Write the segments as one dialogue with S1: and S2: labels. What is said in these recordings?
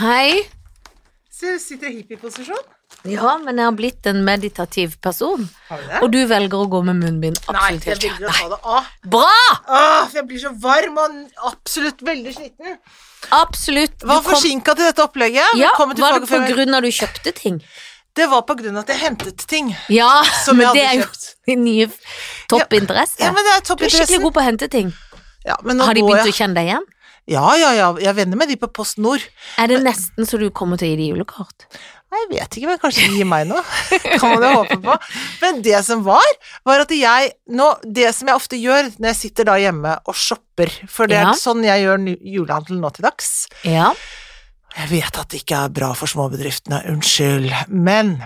S1: Hei.
S2: Se, du sitter i hippieposisjon.
S1: Ja, men jeg har blitt en meditativ person.
S2: Har du det?
S1: Og du velger å gå med munnbind
S2: Nei,
S1: absolutt
S2: jeg velger
S1: helt til.
S2: å ta det av.
S1: Bra!
S2: Åh, for jeg blir så varm og absolutt veldig sliten.
S1: Absolutt. Du
S2: Var
S1: kom-
S2: forsinka til dette opplegget.
S1: Ja, var
S2: Velkommen til
S1: det
S2: Faget
S1: på
S2: før-
S1: grunn av du kjøpte ting?
S2: Det var på grunn av at jeg hentet ting
S1: Ja,
S2: som
S1: men
S2: jeg hadde
S1: det er jo
S2: kjøpt.
S1: din nye toppinteresse.
S2: Ja, men det er
S1: du er skikkelig
S2: toppinteressen.
S1: god på å hente ting.
S2: Ja, men nå
S1: Har de
S2: går
S1: begynt
S2: jeg.
S1: å kjenne deg igjen?
S2: Ja, ja, ja. Jeg er venner med de på Post Nord.
S1: Er det nesten så du kommer til å gi dem julekort?
S2: Nei, Jeg vet ikke, men kanskje de gir meg noe. kan man jo håpe på. Men det som var, var at jeg nå, Det som jeg ofte gjør når jeg sitter da hjemme og shopper, for det
S1: Ja.
S2: er sånn jeg gjør nu- julehandel nå til dags
S1: Ja.
S2: Jeg vet at det ikke er bra for småbedriftene, unnskyld, men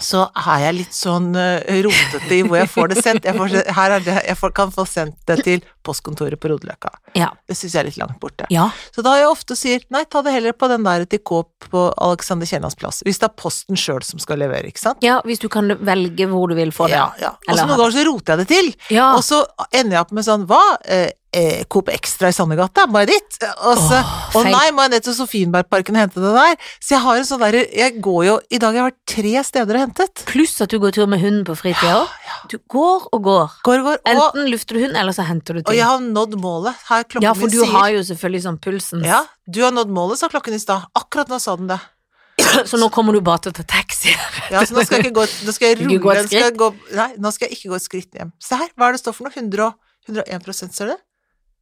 S2: så er jeg litt sånn eh, rotete i hvor jeg får det sendt. Jeg, får, se- her er det, jeg får, kan få sendt det til postkontoret på Rodeløkka.
S1: Ja.
S2: Det syns jeg er litt langt borte.
S1: Ja.
S2: Så da har jeg ofte sier nei, ta det heller på den der til Kåp på Alexander Kiellands plass. Hvis det er Posten sjøl som skal levere, ikke sant?
S1: ja, hvis du kan velge hvor du vil få det.
S2: Ja, ja. Og så
S1: Eller-
S2: noen ganger så roter jeg det til,
S1: Ja.
S2: og så ender jeg opp med sånn hva? Eh, eh, Coop Extra i Sandegata, my ditt? Og så
S1: Åh,
S2: Å
S1: feil.
S2: nei, må jeg ned til Sofienbergparken og hente det der? Så jeg har en sånn derre Jeg går jo I dag har jeg vært tre steder og hentet.
S1: Pluss at du går tur med hunden på fritida òg. Du går og går.
S2: Går og går. Og,
S1: Enten lufter du hunden, eller så henter du
S2: og jeg
S1: ting.
S2: har nådd målet. Her klokken
S1: Ja, for
S2: min
S1: du
S2: sier
S1: har jo selvfølgelig sånn pulsen.
S2: Ja, du har nådd målet, sa klokken i stad. Akkurat nå sa den det.
S1: Så nå kommer du bare til å ta taxi.
S2: Ja, så nå skal jeg ikke gå Nå skal jeg
S1: Ikke gå
S2: rulle den
S1: et
S2: skal jeg gå, Nei, nå skal jeg ikke gå et skritt hjem. Se her, hva er det står for noe? 100 og, 101 ser du det?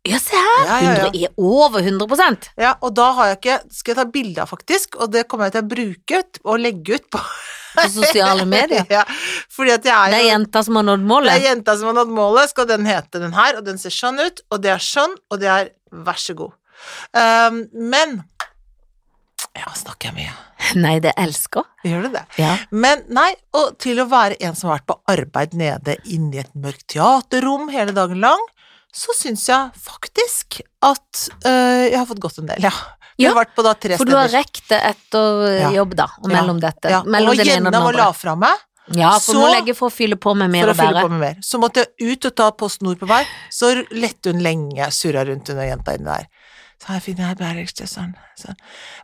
S1: Ja, se her!
S2: Ja, ja, ja.
S1: 100 er over 100
S2: ja, og da har jeg ikke Skal jeg ta bilde av, faktisk, og det kommer jeg til å bruke ut og legge ut på
S1: på sosiale medier.
S2: ja, fordi at jeg
S1: Det
S2: er
S1: er
S2: jo
S1: jenta som har nådd
S2: Det er
S1: målet.
S2: jenta som har nådd målet, skal den hete den her, og den ser sånn ut, og det er sånn, og det er vær så god. Ehm, men Ja, snakker jeg mye?
S1: Nei, det elsker.
S2: Gjør du det?
S1: Ja.
S2: Men nei, og til å være en som har vært på arbeid nede inne i et mørkt teaterrom hele dagen lang, så syns jeg faktisk at øh, jeg har fått gått en del, ja. Jeg
S1: Ja,
S2: har vært på da tre
S1: For du har
S2: steder.
S1: rekt det etter eh,
S2: Ja.
S1: jobb, da, og
S2: Ja.
S1: mellom dette.
S2: Ja,
S1: Mellom
S2: og
S1: den ene og
S2: gjennom å
S1: den
S2: la
S1: andre.
S2: fra meg
S1: Ja, for
S2: så-
S1: må legge for å fylle på med mer
S2: for å
S1: og
S2: fylle
S1: bedre.
S2: på med mer. Så måtte jeg ut og ta Post Nord på vei, så lette hun lenge, surra rundt under jenta inne der. Så her finner jeg Bergstø, sånn, sånn.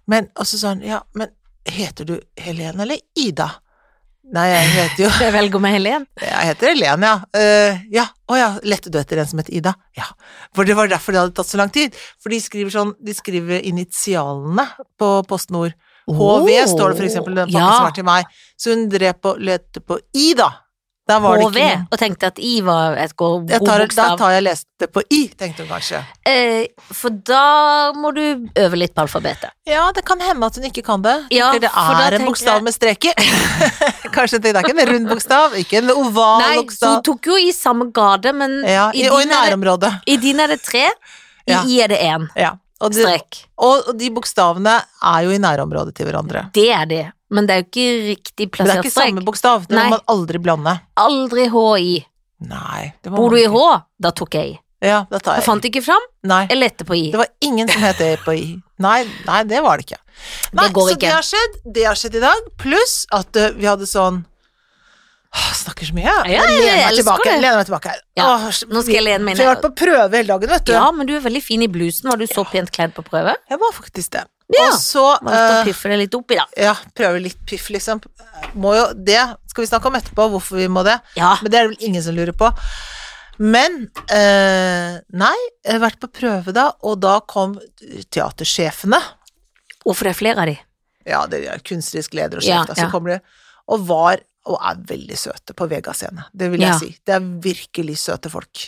S2: Men, og så sånn, ja, men heter du Helene eller Ida? Nei, jeg heter jo
S1: Jeg velger med Helen.
S2: Jeg heter Helen, ja. Eh, ja. Å ja, lette du etter en som heter Ida? Ja. For det var derfor det hadde tatt så lang tid. For de skriver sånn, de skriver initialene på Post Nord. HV står det for eksempel, den pakken
S1: ja.
S2: som var til meg. Så hun drev på, lette på Ida. Da var det
S1: HV,
S2: ikke noe.
S1: og tenkte at I var et go-
S2: Jeg
S1: god
S2: tar, da
S1: bokstav.
S2: tar jeg leste på I, tenkte hun kanskje.
S1: Eh, for da må du øve litt på alfabetet.
S2: Ja, det kan hende at hun ikke kan det.
S1: Ja,
S2: Tenker det
S1: for da
S2: er en
S1: tenker
S2: bokstav
S1: jeg-
S2: med streker. kanskje hun tenkte, det er ikke en rund bokstav, ikke en oval
S1: Nei, så hun
S2: bokstav.
S1: tok jo i samme gate, men
S2: Ja,
S1: i,
S2: i, og i
S1: din er det,
S2: nærområdet.
S1: i din er det tre, i
S2: Ja.
S1: I er det én
S2: Ja. Og det,
S1: strek.
S2: Og og de bokstavene er jo i nærområdet til hverandre.
S1: Det er de, men det er jo ikke riktig
S2: Det er
S1: plassert
S2: ikke samme
S1: strek.
S2: bokstav, det må
S1: Nei.
S2: man aldri blande.
S1: Aldri HI.
S2: Nei, det må
S1: Bor du
S2: man
S1: i
S2: ikke.
S1: H? Da tok jeg I.
S2: Ja, da tar
S1: Jeg
S2: jeg i.
S1: fant ikke fram,
S2: Nei,
S1: jeg lette på I.
S2: det var ingen som het det på i. Nei, nei, det var det ikke. Nei,
S1: går
S2: så
S1: ikke.
S2: det har skjedd, det har skjedd i dag, pluss at eh, vi hadde sånn Åh, jeg snakker så mye, jeg.
S1: Ja, ja,
S2: lener
S1: jeg
S2: meg
S1: elsker
S2: tilbake.
S1: det.
S2: Lener meg tilbake her.
S1: Ja,
S2: Åh, så-
S1: nå skal jeg lene meg
S2: For jeg har vært
S1: ned.
S2: på prøve hele dagen, vet du.
S1: Ja, men du er veldig fin i blusen. Var du så pent kledd på prøve?
S2: Jeg var faktisk det.
S1: Ja.
S2: Og så
S1: Valgte å
S2: eh,
S1: piffe deg litt opp i dag.
S2: ja, prøve litt piff, liksom. Må jo det. Skal vi snakke om etterpå hvorfor vi må det.
S1: Ja.
S2: Men det er det vel ingen som lurer på. Men eh, nei, jeg har vært på prøve da, og da kom teatersjefene.
S1: Hvorfor det er flere av de?
S2: Ja, det er kunstnerisk leder og sjef,
S1: Ja,
S2: da, så
S1: ja.
S2: kommer de og var og er veldig søte på Vega scene. Det vil jeg
S1: Ja.
S2: si. Det er virkelig søte folk.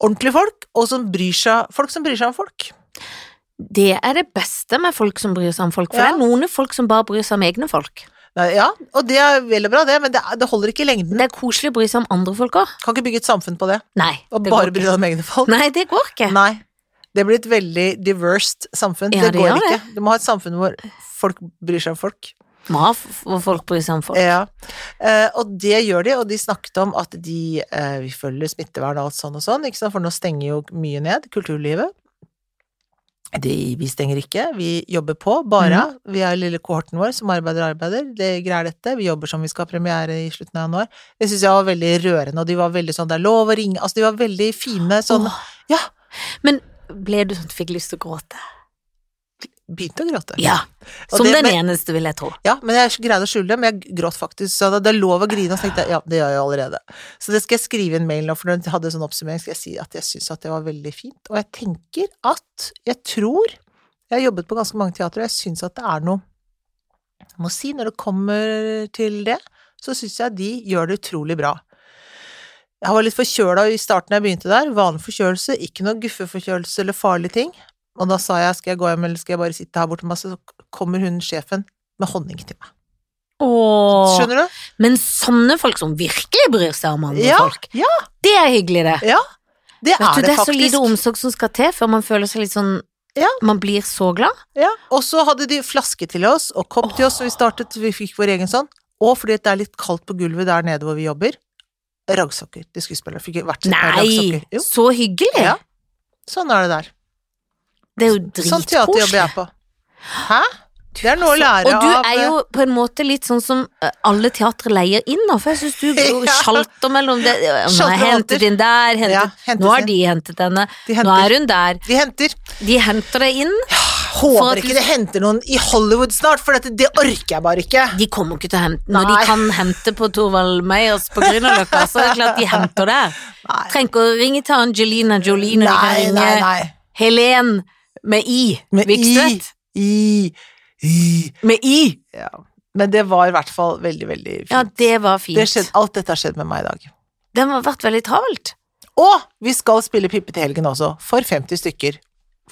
S2: Ordentlige folk, og som bryr seg, folk som bryr seg om folk.
S1: Det er det beste med folk som bryr seg om folk, for
S2: Ja.
S1: det er noen folk som bare bryr seg om egne folk.
S2: Nei, ja, og det er vel og bra, det, men det, er- det holder ikke i lengden.
S1: Det er koselig å bry seg om andre folk òg.
S2: Kan ikke bygge et samfunn på det.
S1: Nei,
S2: Og
S1: det går
S2: bare
S1: ikke.
S2: bry deg om egne folk.
S1: Nei, det går ikke.
S2: Nei. Det blir et veldig diversed samfunn.
S1: Ja,
S2: det
S1: det
S2: går
S1: gjør
S2: ikke. Du må ha et samfunn hvor folk bryr seg om folk.
S1: Må ha f- hvor folk bryr seg om folk.
S2: Ja. Eh, og det gjør de, og de snakket om at de eh, vi følger smittevern og alt sånn og sånn, ikke sant? for nå stenger jo mye ned, kulturlivet. De, vi stenger ikke, vi jobber på, bare.
S1: Mm.
S2: Vi er lille kohorten vår som arbeider og arbeider. Det greier dette. Vi jobber som vi skal ha premiere i slutten av januar. Det syns jeg var veldig rørende, og de var veldig sånn det er lov å ringe Altså, de var veldig fine sånn
S1: Åh.
S2: Ja.
S1: Men ble du sånn at du fikk lyst til å gråte?
S2: begynte å gråte.
S1: Ja.
S2: Og
S1: Som
S2: det-
S1: den
S2: men-
S1: eneste, vil jeg tro.
S2: Ja, men jeg greide å skjule det, men jeg gråt faktisk. Så det er lov å grine, og så tenkte jeg ja, det gjør jeg allerede. Så det skal jeg skrive i en mail nå, for når jeg hadde sånn oppsummering, skal jeg si at jeg syns at det var veldig fint. Og jeg tenker at Jeg tror Jeg har jobbet på ganske mange teatre, og jeg syns at det er noe Jeg må si, når det kommer til det, så syns jeg de gjør det utrolig bra. Jeg var litt forkjøla i starten da jeg begynte der. Vanlig forkjølelse, ikke noe guffeforkjølelse eller farlige ting. Og da sa jeg skal jeg gå hjem, eller skal jeg bare sitte her borte med meg, så kommer hun sjefen med honning til meg.
S1: Åh.
S2: Skjønner du?
S1: Men sånne folk som virkelig bryr seg om andre
S2: Ja,
S1: folk,
S2: ja.
S1: det er hyggelig, det.
S2: Det
S1: Vet
S2: er
S1: du,
S2: det,
S1: det er så
S2: faktisk.
S1: lite omsorg som skal til før man føler seg litt sånn
S2: Ja.
S1: Man blir så glad.
S2: ja. Og så hadde de flaske til oss, og kopp til oss, og vi startet, vi fikk vår egen sånn. Og fordi det er litt kaldt på gulvet der nede hvor vi jobber, raggsokker til skuespillere. Fikk hvert sitt par
S1: Nei,
S2: raggsokker. Jo,
S1: så hyggelig!
S2: Ja. sånn er det der.
S1: Det er jo
S2: Sånn teaterjobb
S1: dritkoselig.
S2: jeg er på. Hæ? Det er noe å lære
S1: Og du
S2: av
S1: er jo på en måte litt sånn som eh, alle teatre leier inn nå, for jeg syns du jo
S2: Ja.
S1: sjalter mellom det Om jeg
S2: Sjalter og vanter.
S1: hentet inn der, hentet
S2: Ja, hentes
S1: Nå har
S2: inn.
S1: de hentet henne,
S2: De
S1: nå
S2: henter.
S1: er hun der.
S2: De eh, henter.
S1: De henter deg inn. For at
S2: Håper
S1: du-
S2: ikke det henter noen i Hollywood snart, for dette, det orker jeg bare ikke.
S1: De kommer ikke til å hente Når
S2: Nei.
S1: de kan hente på Thorvald Meyers på Grünerløkka, så er det klart de henter der.
S2: Nei.
S1: Trenger ikke å ringe til Angelina Jolie når de kan
S2: Nei,
S1: ringe
S2: nei, nei.
S1: Helen med I.
S2: Med
S1: Vikstvedt.
S2: I. I.
S1: Med I.
S2: Ja. Men det var i hvert fall veldig, veldig fint.
S1: Ja, det var fint.
S2: Det skjedde, alt dette har skjedd med meg i dag.
S1: Den har vært veldig travelt.
S2: Og vi skal spille Pippe til helgen også, for 50 stykker.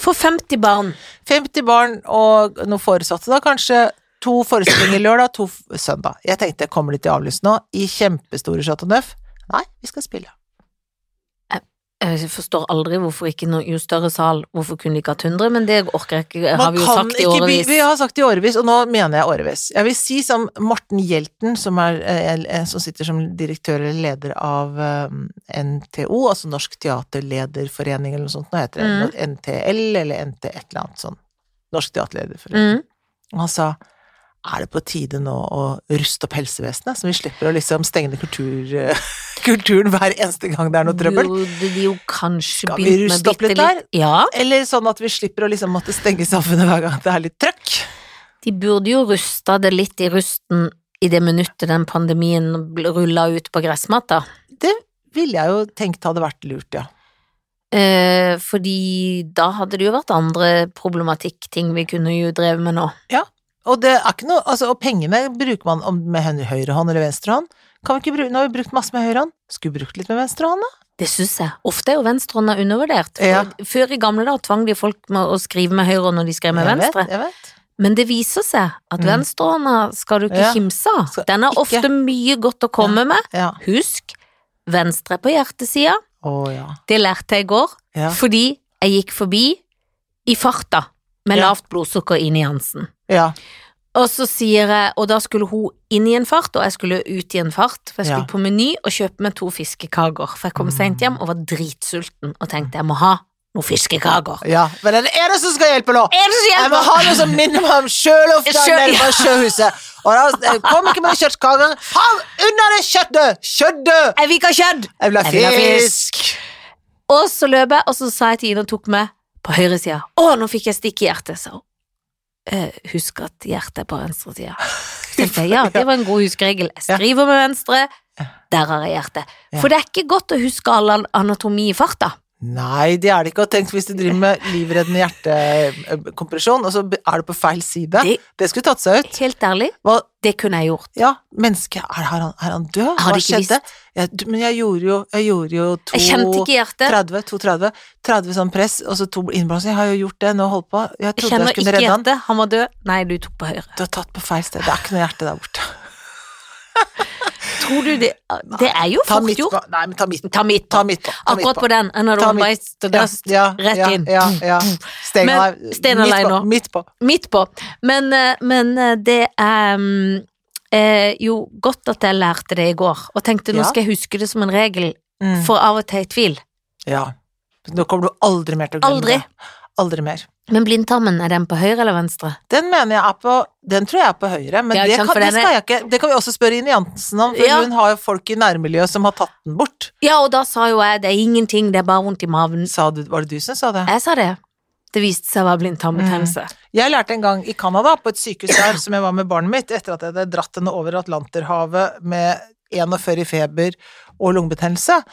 S1: For 50 barn.
S2: 50 barn og noen foresatte, da kanskje. To forestillinger lørdag, to f- søndag. Jeg tenkte, kommer de til avlyst nå? I kjempestore Chateau Neuf? Nei, vi skal spille.
S1: Eh, Jeg forstår aldri hvorfor ikke noe, jo større sal, hvorfor kunne de ikke hatt 100, men det orker jeg ikke, har
S2: Man
S1: vi jo
S2: kan
S1: sagt i
S2: ikke by-
S1: årevis.
S2: Vi har sagt i årevis, og nå mener jeg årevis. Jeg vil si som Morten Hjelten, som, er, eh, eh, som sitter som direktør eller leder av eh, NTO, altså Norsk Teaterlederforening eller noe sånt, nå heter det
S1: Mm.
S2: noe NTL eller NT et eller annet sånn. Norsk Teaterlederforening.
S1: Mm.
S2: Og han sa er det på tide nå å ruste opp helsevesenet, så vi slipper å liksom stenge ned kultur, eh, kulturen hver eneste gang det er noe trøbbel?
S1: Burde de jo kanskje
S2: Skal vi
S1: begynt med
S2: ruste opp litt
S1: bitte litt Ja,
S2: Eller sånn at vi slipper å liksom måtte stenge samfunnet hver gang det er litt trøkk?
S1: de burde jo rusta det litt i rusten i det minuttet den pandemien rulla ut på gressmatta.
S2: Ville jeg jo tenkt hadde vært lurt, ja.
S1: Eh, fordi da hadde det jo vært andre problematikkting vi kunne jo drevet med nå.
S2: Og det er ikke noe, altså, og pengene bruker man om, med hø- høyre hånd eller venstre hånd. Kan vi ikke bruke, nå har vi brukt masse med høyre hånd, skulle brukt litt med venstre hånd, da?
S1: Det syns jeg. Ofte er jo venstrehånda undervurdert. For-
S2: Ja.
S1: Før i gamle dager tvang de folk med å skrive med høyre når de skrev med
S2: jeg
S1: venstre.
S2: Vet, jeg vet.
S1: Men det viser seg at
S2: Mm.
S1: venstrehånda skal du ikke
S2: Ja.
S1: kimse av.
S2: Skal
S1: Den har
S2: ikke.
S1: ofte mye godt å komme med.
S2: Ja.
S1: Husk, venstre er på hjertesida.
S2: Å ja.
S1: Det lærte jeg i går
S2: Ja.
S1: fordi jeg gikk forbi i farta med
S2: Ja.
S1: lavt blodsukker inn i Hansen.
S2: ja.
S1: Og så sier jeg, og da skulle hun inn i en fart, og jeg skulle ut i en fart, for jeg skulle
S2: Ja.
S1: på meny og kjøpe meg to fiskekaker, for jeg kom sent hjem og var dritsulten, og tenkte jeg må ha noen fiskekaker.
S2: Ja. Men det er det som skal hjelpe nå!
S1: Er det så
S2: Jeg må
S1: jævla?
S2: ha noe som minner meg om sjølufta
S1: Sjø-
S2: nede fra sjøhuset. Og da eh, kom ikke med kjøttkaker. Ha unna det kjøttet! Kjøttet!
S1: Jeg vil ikke ha kjødd!
S2: Jeg vil ha
S1: Jeg vil ha
S2: fisk!
S1: Og så løp jeg, og så sa jeg til Ine og tok meg på høyre sida. Å, nå fikk jeg stikk i hjertet, sa hun. «Eh, husk at hjertet er på venstre sida. Tenkte jeg, ja, det var en god huskeregel. Jeg skriver med venstre, der har jeg hjertet.
S2: Ja.
S1: For det er ikke godt å huske all an- anatomi i farta.
S2: Nei, det er det ikke. Og tenk hvis du driver med livreddende hjertekompresjon, og så er du på feil side.
S1: Det-
S2: Det skulle tatt seg ut.
S1: Helt ærlig,
S2: Hva,
S1: det kunne jeg gjort.
S2: Ja, mennesket, er, er, han, er han død?
S1: hadde
S2: Hva
S1: ikke
S2: skjedde? Jeg, du- men jeg gjorde jo, jeg gjorde jo to,
S1: Jeg kjente ikke hjertet.
S2: 30, 32, 30 sånn press, og så to innblåsninger. Jeg har jo gjort det, nå holdt på. Jeg
S1: Jeg
S2: trodde jeg,
S1: kjenner
S2: skulle
S1: ikke
S2: redde han.
S1: hjertet. Han var død. Nei, du tok på høyre.
S2: Du har tatt på feil sted. Det er ikke noe hjerte der borte.
S1: Tror du det Det er jo
S2: Ta
S1: fort
S2: midt på.
S1: gjort.
S2: Nei, men ta midt på.
S1: Ta midt på.
S2: Ta midt på. Ta midt
S1: Akkurat på den. Another
S2: Ta
S1: one
S2: midt-
S1: bites the dust.
S2: Ja,
S1: Rett
S2: ja,
S1: inn. Mm.
S2: Ja, ja. Stein
S1: Men
S2: alene.
S1: Stein
S2: Midt
S1: alene
S2: på,
S1: nå.
S2: Midt på.
S1: Midt på. Men, eh, men eh, det er mm, eh, jo godt at jeg lærte det i går, og tenkte nå
S2: Ja.
S1: skal jeg huske det som en regel,
S2: Mm.
S1: for av og til i tvil.
S2: Ja. Nå kommer du aldri mer til å glemme
S1: Aldri.
S2: det. Aldri mer.
S1: Men blindtarmen, er den på høyre eller venstre?
S2: Den mener jeg er på Den tror jeg er på høyre, men
S1: Ja,
S2: det,
S1: ikke sant,
S2: kan,
S1: for
S2: det,
S1: den er-
S2: skal jeg ikke, det kan vi også spørre Ine Jansen om, for
S1: Ja.
S2: hun har jo folk i nærmiljøet som har tatt den bort.
S1: Ja, og da sa jo jeg det er ingenting, det er bare vondt i maven.
S2: Sa du, var det du som sa det?
S1: Jeg sa det. Det viste seg å være blindtarmbetennelse.
S2: Jeg lærte en gang i Canada, på et sykehus der som jeg var med barnet mitt, etter at jeg hadde dratt henne over Atlanterhavet med 41 i feber og lungebetennelse,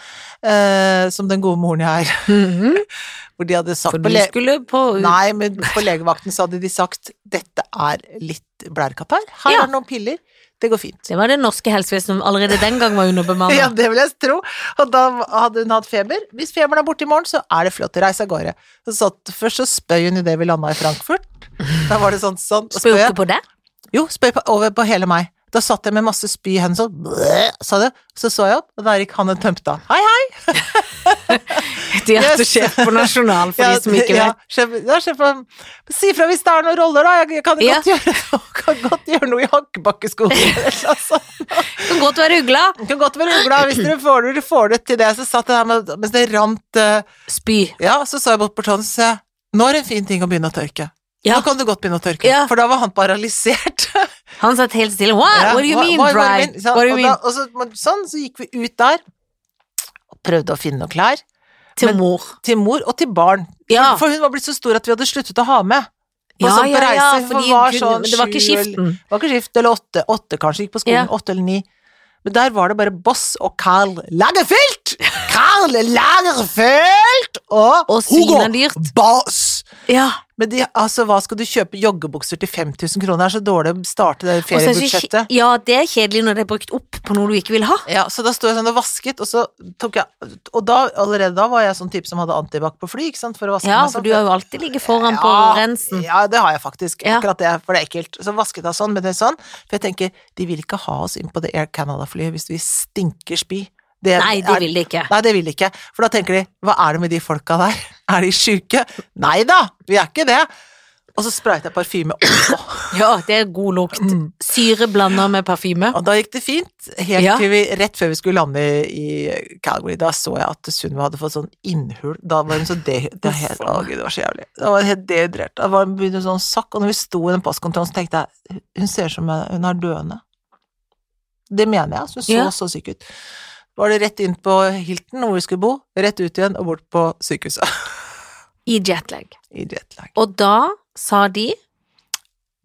S2: eh, som den gode moren jeg er,
S1: Mhm.
S2: hvor de hadde sagt
S1: For
S2: på
S1: du
S2: le
S1: skulle på
S2: Nei, men på legevakten så hadde de sagt 'dette er litt blærekatarr, her
S1: Ja.
S2: er det noen piller, det går fint'.
S1: Det var det norske helsevesenet som allerede den gang var underbemannet.
S2: Ja, det vil jeg tro. Og da hadde hun hatt feber. Hvis feberen er borte i morgen, så er det flott å reise av gårde. Så satt, først så spøy hun idet vi landa i Frankfurt. Da var det sånn, sånn og
S1: Spør
S2: spøy
S1: ikke
S2: jeg.
S1: på det?
S2: Jo, spøy på, over på hele meg. Da satt jeg med masse spy i hendene sånn, bleh, sa det. Så så jeg opp, og der gikk han en tømte av. Hei, hei!
S1: De er sjef på Nasjonal, for de som ikke
S2: ja,
S1: vet.
S2: sjef, ja, sjefen, si fra hvis det er noen roller, da. Jeg, jeg kan,
S1: Ja.
S2: godt gjøre, kan godt gjøre noe i hakkebakkeskolen eller noe sånt.
S1: Det kan godt være ugla.
S2: Du kan godt være uglad hvis dere får, dere får det til det. Så satt jeg der med, mens det rant eh,
S1: Spy.
S2: Ja, så sa jeg bort på Trond, så sa jeg, nå er det en fin ting å begynne å tørke.
S1: Ja.
S2: Nå kan du godt begynne å tørke,
S1: Ja.
S2: for da var han paralysert.
S1: Han satt helt stille. What?
S2: Ja,
S1: What do you
S2: hva-
S1: mean,
S2: hva- hva
S1: dry?
S2: mener- sånn,
S1: What do you
S2: og
S1: mean?
S2: da- og så, men sånn, så gikk vi ut der, og prøvde å finne noen klær,
S1: Til mor.
S2: til mor og til barn.
S1: Ja.
S2: For hun var blitt så stor at vi hadde sluttet å ha med.
S1: Ja,
S2: sånn på
S1: ja, ja,
S2: reise, for
S1: fordi
S2: var
S1: hun
S2: sånn
S1: kunne, men det var ikke
S2: sju eller-
S1: skiften.
S2: Det var ikke skift, eller åtte, åtte kanskje, gikk på skolen, åtte eller ni. Men der var det bare Boss og Carl Lagerfeldt! Carl Lagerfeldt! Og,
S1: Og svinedyrt.
S2: Boss!
S1: Ja.
S2: Men de, altså, hva skal du kjøpe joggebukser til 5000 kroner? Det er så dårlig å starte det
S1: Og så er det så
S2: feriebudsjettet.
S1: kje- ja, det er kjedelig når det er brukt opp på noe du ikke vil ha.
S2: Ja, så da sto jeg sånn og vasket, og så tok jeg Og da, allerede da var jeg sånn type som hadde antibac på fly, ikke sant, for å vaske
S1: Ja,
S2: meg
S1: altså, for
S2: sånn.
S1: du har jo alltid ligget foran på
S2: Ja,
S1: rensen.
S2: Ja, det har jeg faktisk.
S1: Ja.
S2: Akkurat det, for det er ekkelt. Så vasket jeg sånn, men det er sånn. For jeg tenker, de vil ikke ha oss inn på det Air Canada-flyet hvis vi stinker spy. Det er-
S1: Nei, det vil det ikke.
S2: Nei, det vil de ikke. For da tenker de, hva er det med de folka der? Er de sjuke? Nei da, vi er ikke det. Og så sprayet jeg parfyme også.
S1: Ja, det er god lukt. Syre blanda med parfyme.
S2: Og da gikk det fint, helt
S1: Ja.
S2: til vi, rett før vi skulle lande i i Calgary. Da så jeg at Sunniva hadde fått sånn innhull. Da var hun så dehydrert. Det, var helt- å, Gud, det var så jævlig. Da var hun helt dehydrert. Da var hun begynte sånn sakk, og når vi sto i den passkontrollen, så tenkte jeg hun ser ut som hun er døende. Det mener jeg, altså. Hun så
S1: Ja.
S2: så syk ut. Var det rett inn på Hilton, hvor vi skulle bo, rett ut igjen og bort på sykehuset.
S1: I jetlag.
S2: I jetlag.
S1: Og da sa de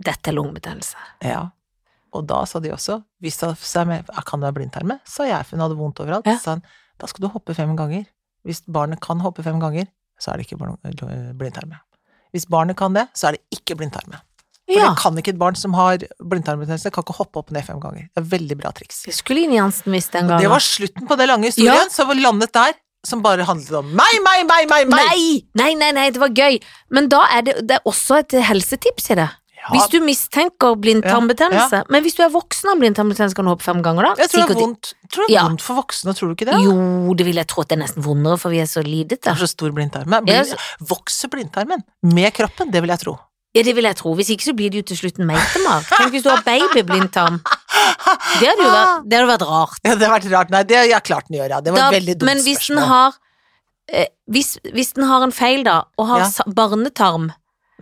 S1: dette er lungebetennelse.
S2: Ja. Og da sa de også, hvis det seg med, «Ja, kan det være blindtarme, sa jeg, for hun hadde vondt overalt.
S1: Ja.
S2: Så sa han, da skal du hoppe fem ganger. Hvis barnet kan hoppe fem ganger, så er det ikke blom- eh, blindtarme. Hvis barnet kan det, så er det ikke blindtarme. For
S1: Ja.
S2: det kan ikke et barn som har blindtarmbetennelse, kan ikke hoppe opp og ned fem ganger. Det er veldig bra triks.
S1: Det skulle Line Jansen visst den gangen.
S2: Det var slutten på det lange historien, så vi landet der, som bare handlet om meg, meg, meg, meg, meg!
S1: Nei! Nei, nei, nei, det var gøy. Men da er det, det er også et helsetips i det.
S2: Ja,
S1: Hvis du mistenker blindtarmbetennelse. Men hvis du er voksen av blindtarmbetennelse, kan du hoppe fem ganger, da?
S2: jeg tror det er
S1: Sikkert-
S2: vondt, tror det er
S1: Ja.
S2: vondt for voksne, tror du ikke det?
S1: Jo, det vil jeg tro at det er nesten vondere, for vi er så
S2: Det
S1: lidete.
S2: er så stor blindtarme. Blind,
S1: Ja,
S2: vokser blindtarmen med kroppen? Det vil jeg tro.
S1: Ja, det vil jeg tro. Hvis ikke så blir det jo til slutt en meitemark. Tenk hvis du har babyblindtarm. Det hadde jo vært, det hadde vært rart.
S2: Ja, det har vært rart. Nei, det har jeg klart den gjør, ja. Det var
S1: Da-
S2: et veldig dumt
S1: men hvis den
S2: spørsmål.
S1: har eh, hvis, hvis den har en feil, da, og har
S2: Ja.
S1: sa- barnetarm,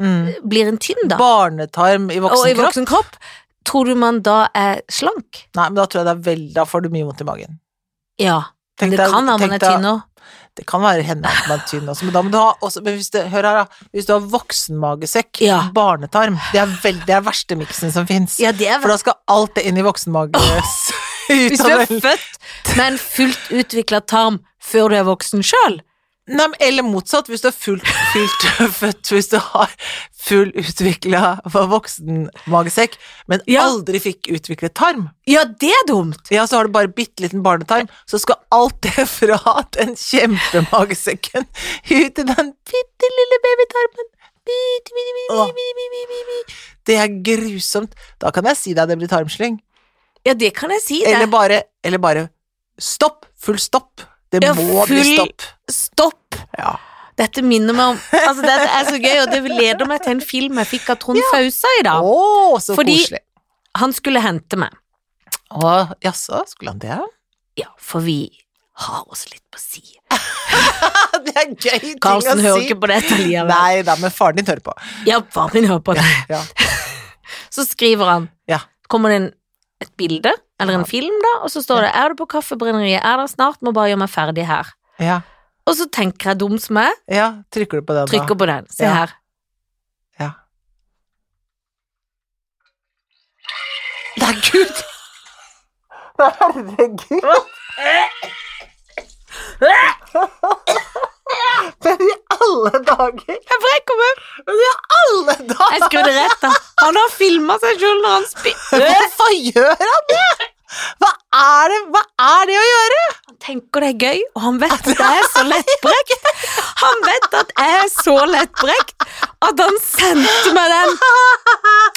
S2: mm.
S1: blir en tynn, da,
S2: Barnetarm i voksen
S1: og i
S2: kropp?
S1: voksen kropp, tror du man da er slank?
S2: Nei, men da tror jeg det er veldig Da får du mye vondt i magen.
S1: Ja.
S2: Tenk
S1: Men det
S2: deg-
S1: kan være man
S2: tenk
S1: er
S2: deg-
S1: tynn òg.
S2: Det kan være henne at man er tynn også, men da må du ha også, men hvis du, Hør her, da. Hvis du har voksenmagesekk,
S1: Ja.
S2: barnetarm Det er veldig, det er verste miksen som fins.
S1: Ja, det er
S2: For da skal alt det inn i voksenmage...
S1: Hvis du er født med en fullt utvikla tarm før du er voksen sjøl.
S2: Nei, men eller motsatt, hvis du er fullt, fullt født, hvis du har full utvikla voksenmagesekk, men
S1: Ja.
S2: aldri fikk utviklet tarm,
S1: Ja, det er dumt!
S2: ja, så har du bare bitte liten barnetarm, så skal alt det fra den kjempemagesekken ut i den bitte lille babytarmen. Bitte, bitte, bitte, bitte, bitte, bitte, bitte, bitte. Det er grusomt. Da kan jeg si deg det blir tarmslyng.
S1: Ja, det kan jeg si.
S2: Eller
S1: Det.
S2: bare, eller bare stopp. Full stopp. Det
S1: Ja,
S2: må bli
S1: full-
S2: stopp.
S1: Stopp!
S2: Ja.
S1: Dette minner meg om Altså, dette er så gøy, og det leder meg til en film jeg fikk av Trond Fausa
S2: Å,
S1: i dag.
S2: så
S1: Fordi-
S2: koselig.
S1: Han skulle hente meg.
S2: Å, jaså, skulle han det?
S1: Ja, for vi har oss litt på si.
S2: det er gøy ting
S1: Karlsen
S2: å
S1: hører
S2: si.
S1: ikke på dette likevel.
S2: Nei da, men faren din hører på.
S1: Ja, faren min hører på det.
S2: Ja.
S1: Så skriver han
S2: Ja.
S1: Kommer det en, et bilde, eller en
S2: Ja.
S1: film, da, og så står det 'Er du på Kaffebrenneriet? Er der snart? Må bare gjøre meg ferdig her'.
S2: Ja,
S1: Og så tenker jeg dum som jeg,
S2: ja, trykker du på den, da?
S1: trykker på den. Se
S2: Ja.
S1: her.
S2: herregud! Herregud! Men i alle dager!
S1: Jeg brekker meg!
S2: Men i alle
S1: Jeg
S2: dager!
S1: skrudde rett av. Han har filma seg sjøl når han spyr.
S2: Hvorfor gjør han det? Hva er det, hva er det å gjøre?
S1: Han tenker det er gøy, og han vet at jeg er så lettbrekt. Han vet at jeg er så lettbrekt at han sendte meg den.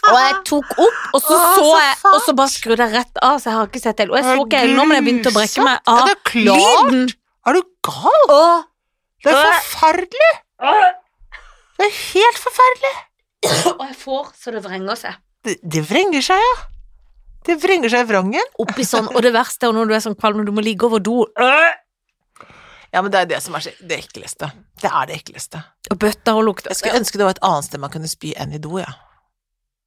S1: Og jeg tok opp, og så
S2: Å,
S1: så
S2: så
S1: jeg, og så bare skrudde jeg rett av, så jeg har ikke sett det. Og jeg så ikke helt nå,
S2: Grusomt.
S1: men jeg begynte å brekke meg
S2: Ja,
S1: av
S2: det er klart.
S1: lyden.
S2: Er du gal?
S1: Åh.
S2: Det er forferdelig! Det er helt forferdelig!
S1: Og jeg får så det vrenger seg.
S2: Det, det vrenger seg, ja. Det vrenger seg i vrangen.
S1: Oppi sånn, og det verste er når du er sånn kvalm, når du må ligge over do,
S2: Ja, men det er det som er så- det ekleste. Det er det ekleste.
S1: og bøtta og lukta.
S2: Jeg skulle ønske det var et annet sted man kunne spy enn i do, ja.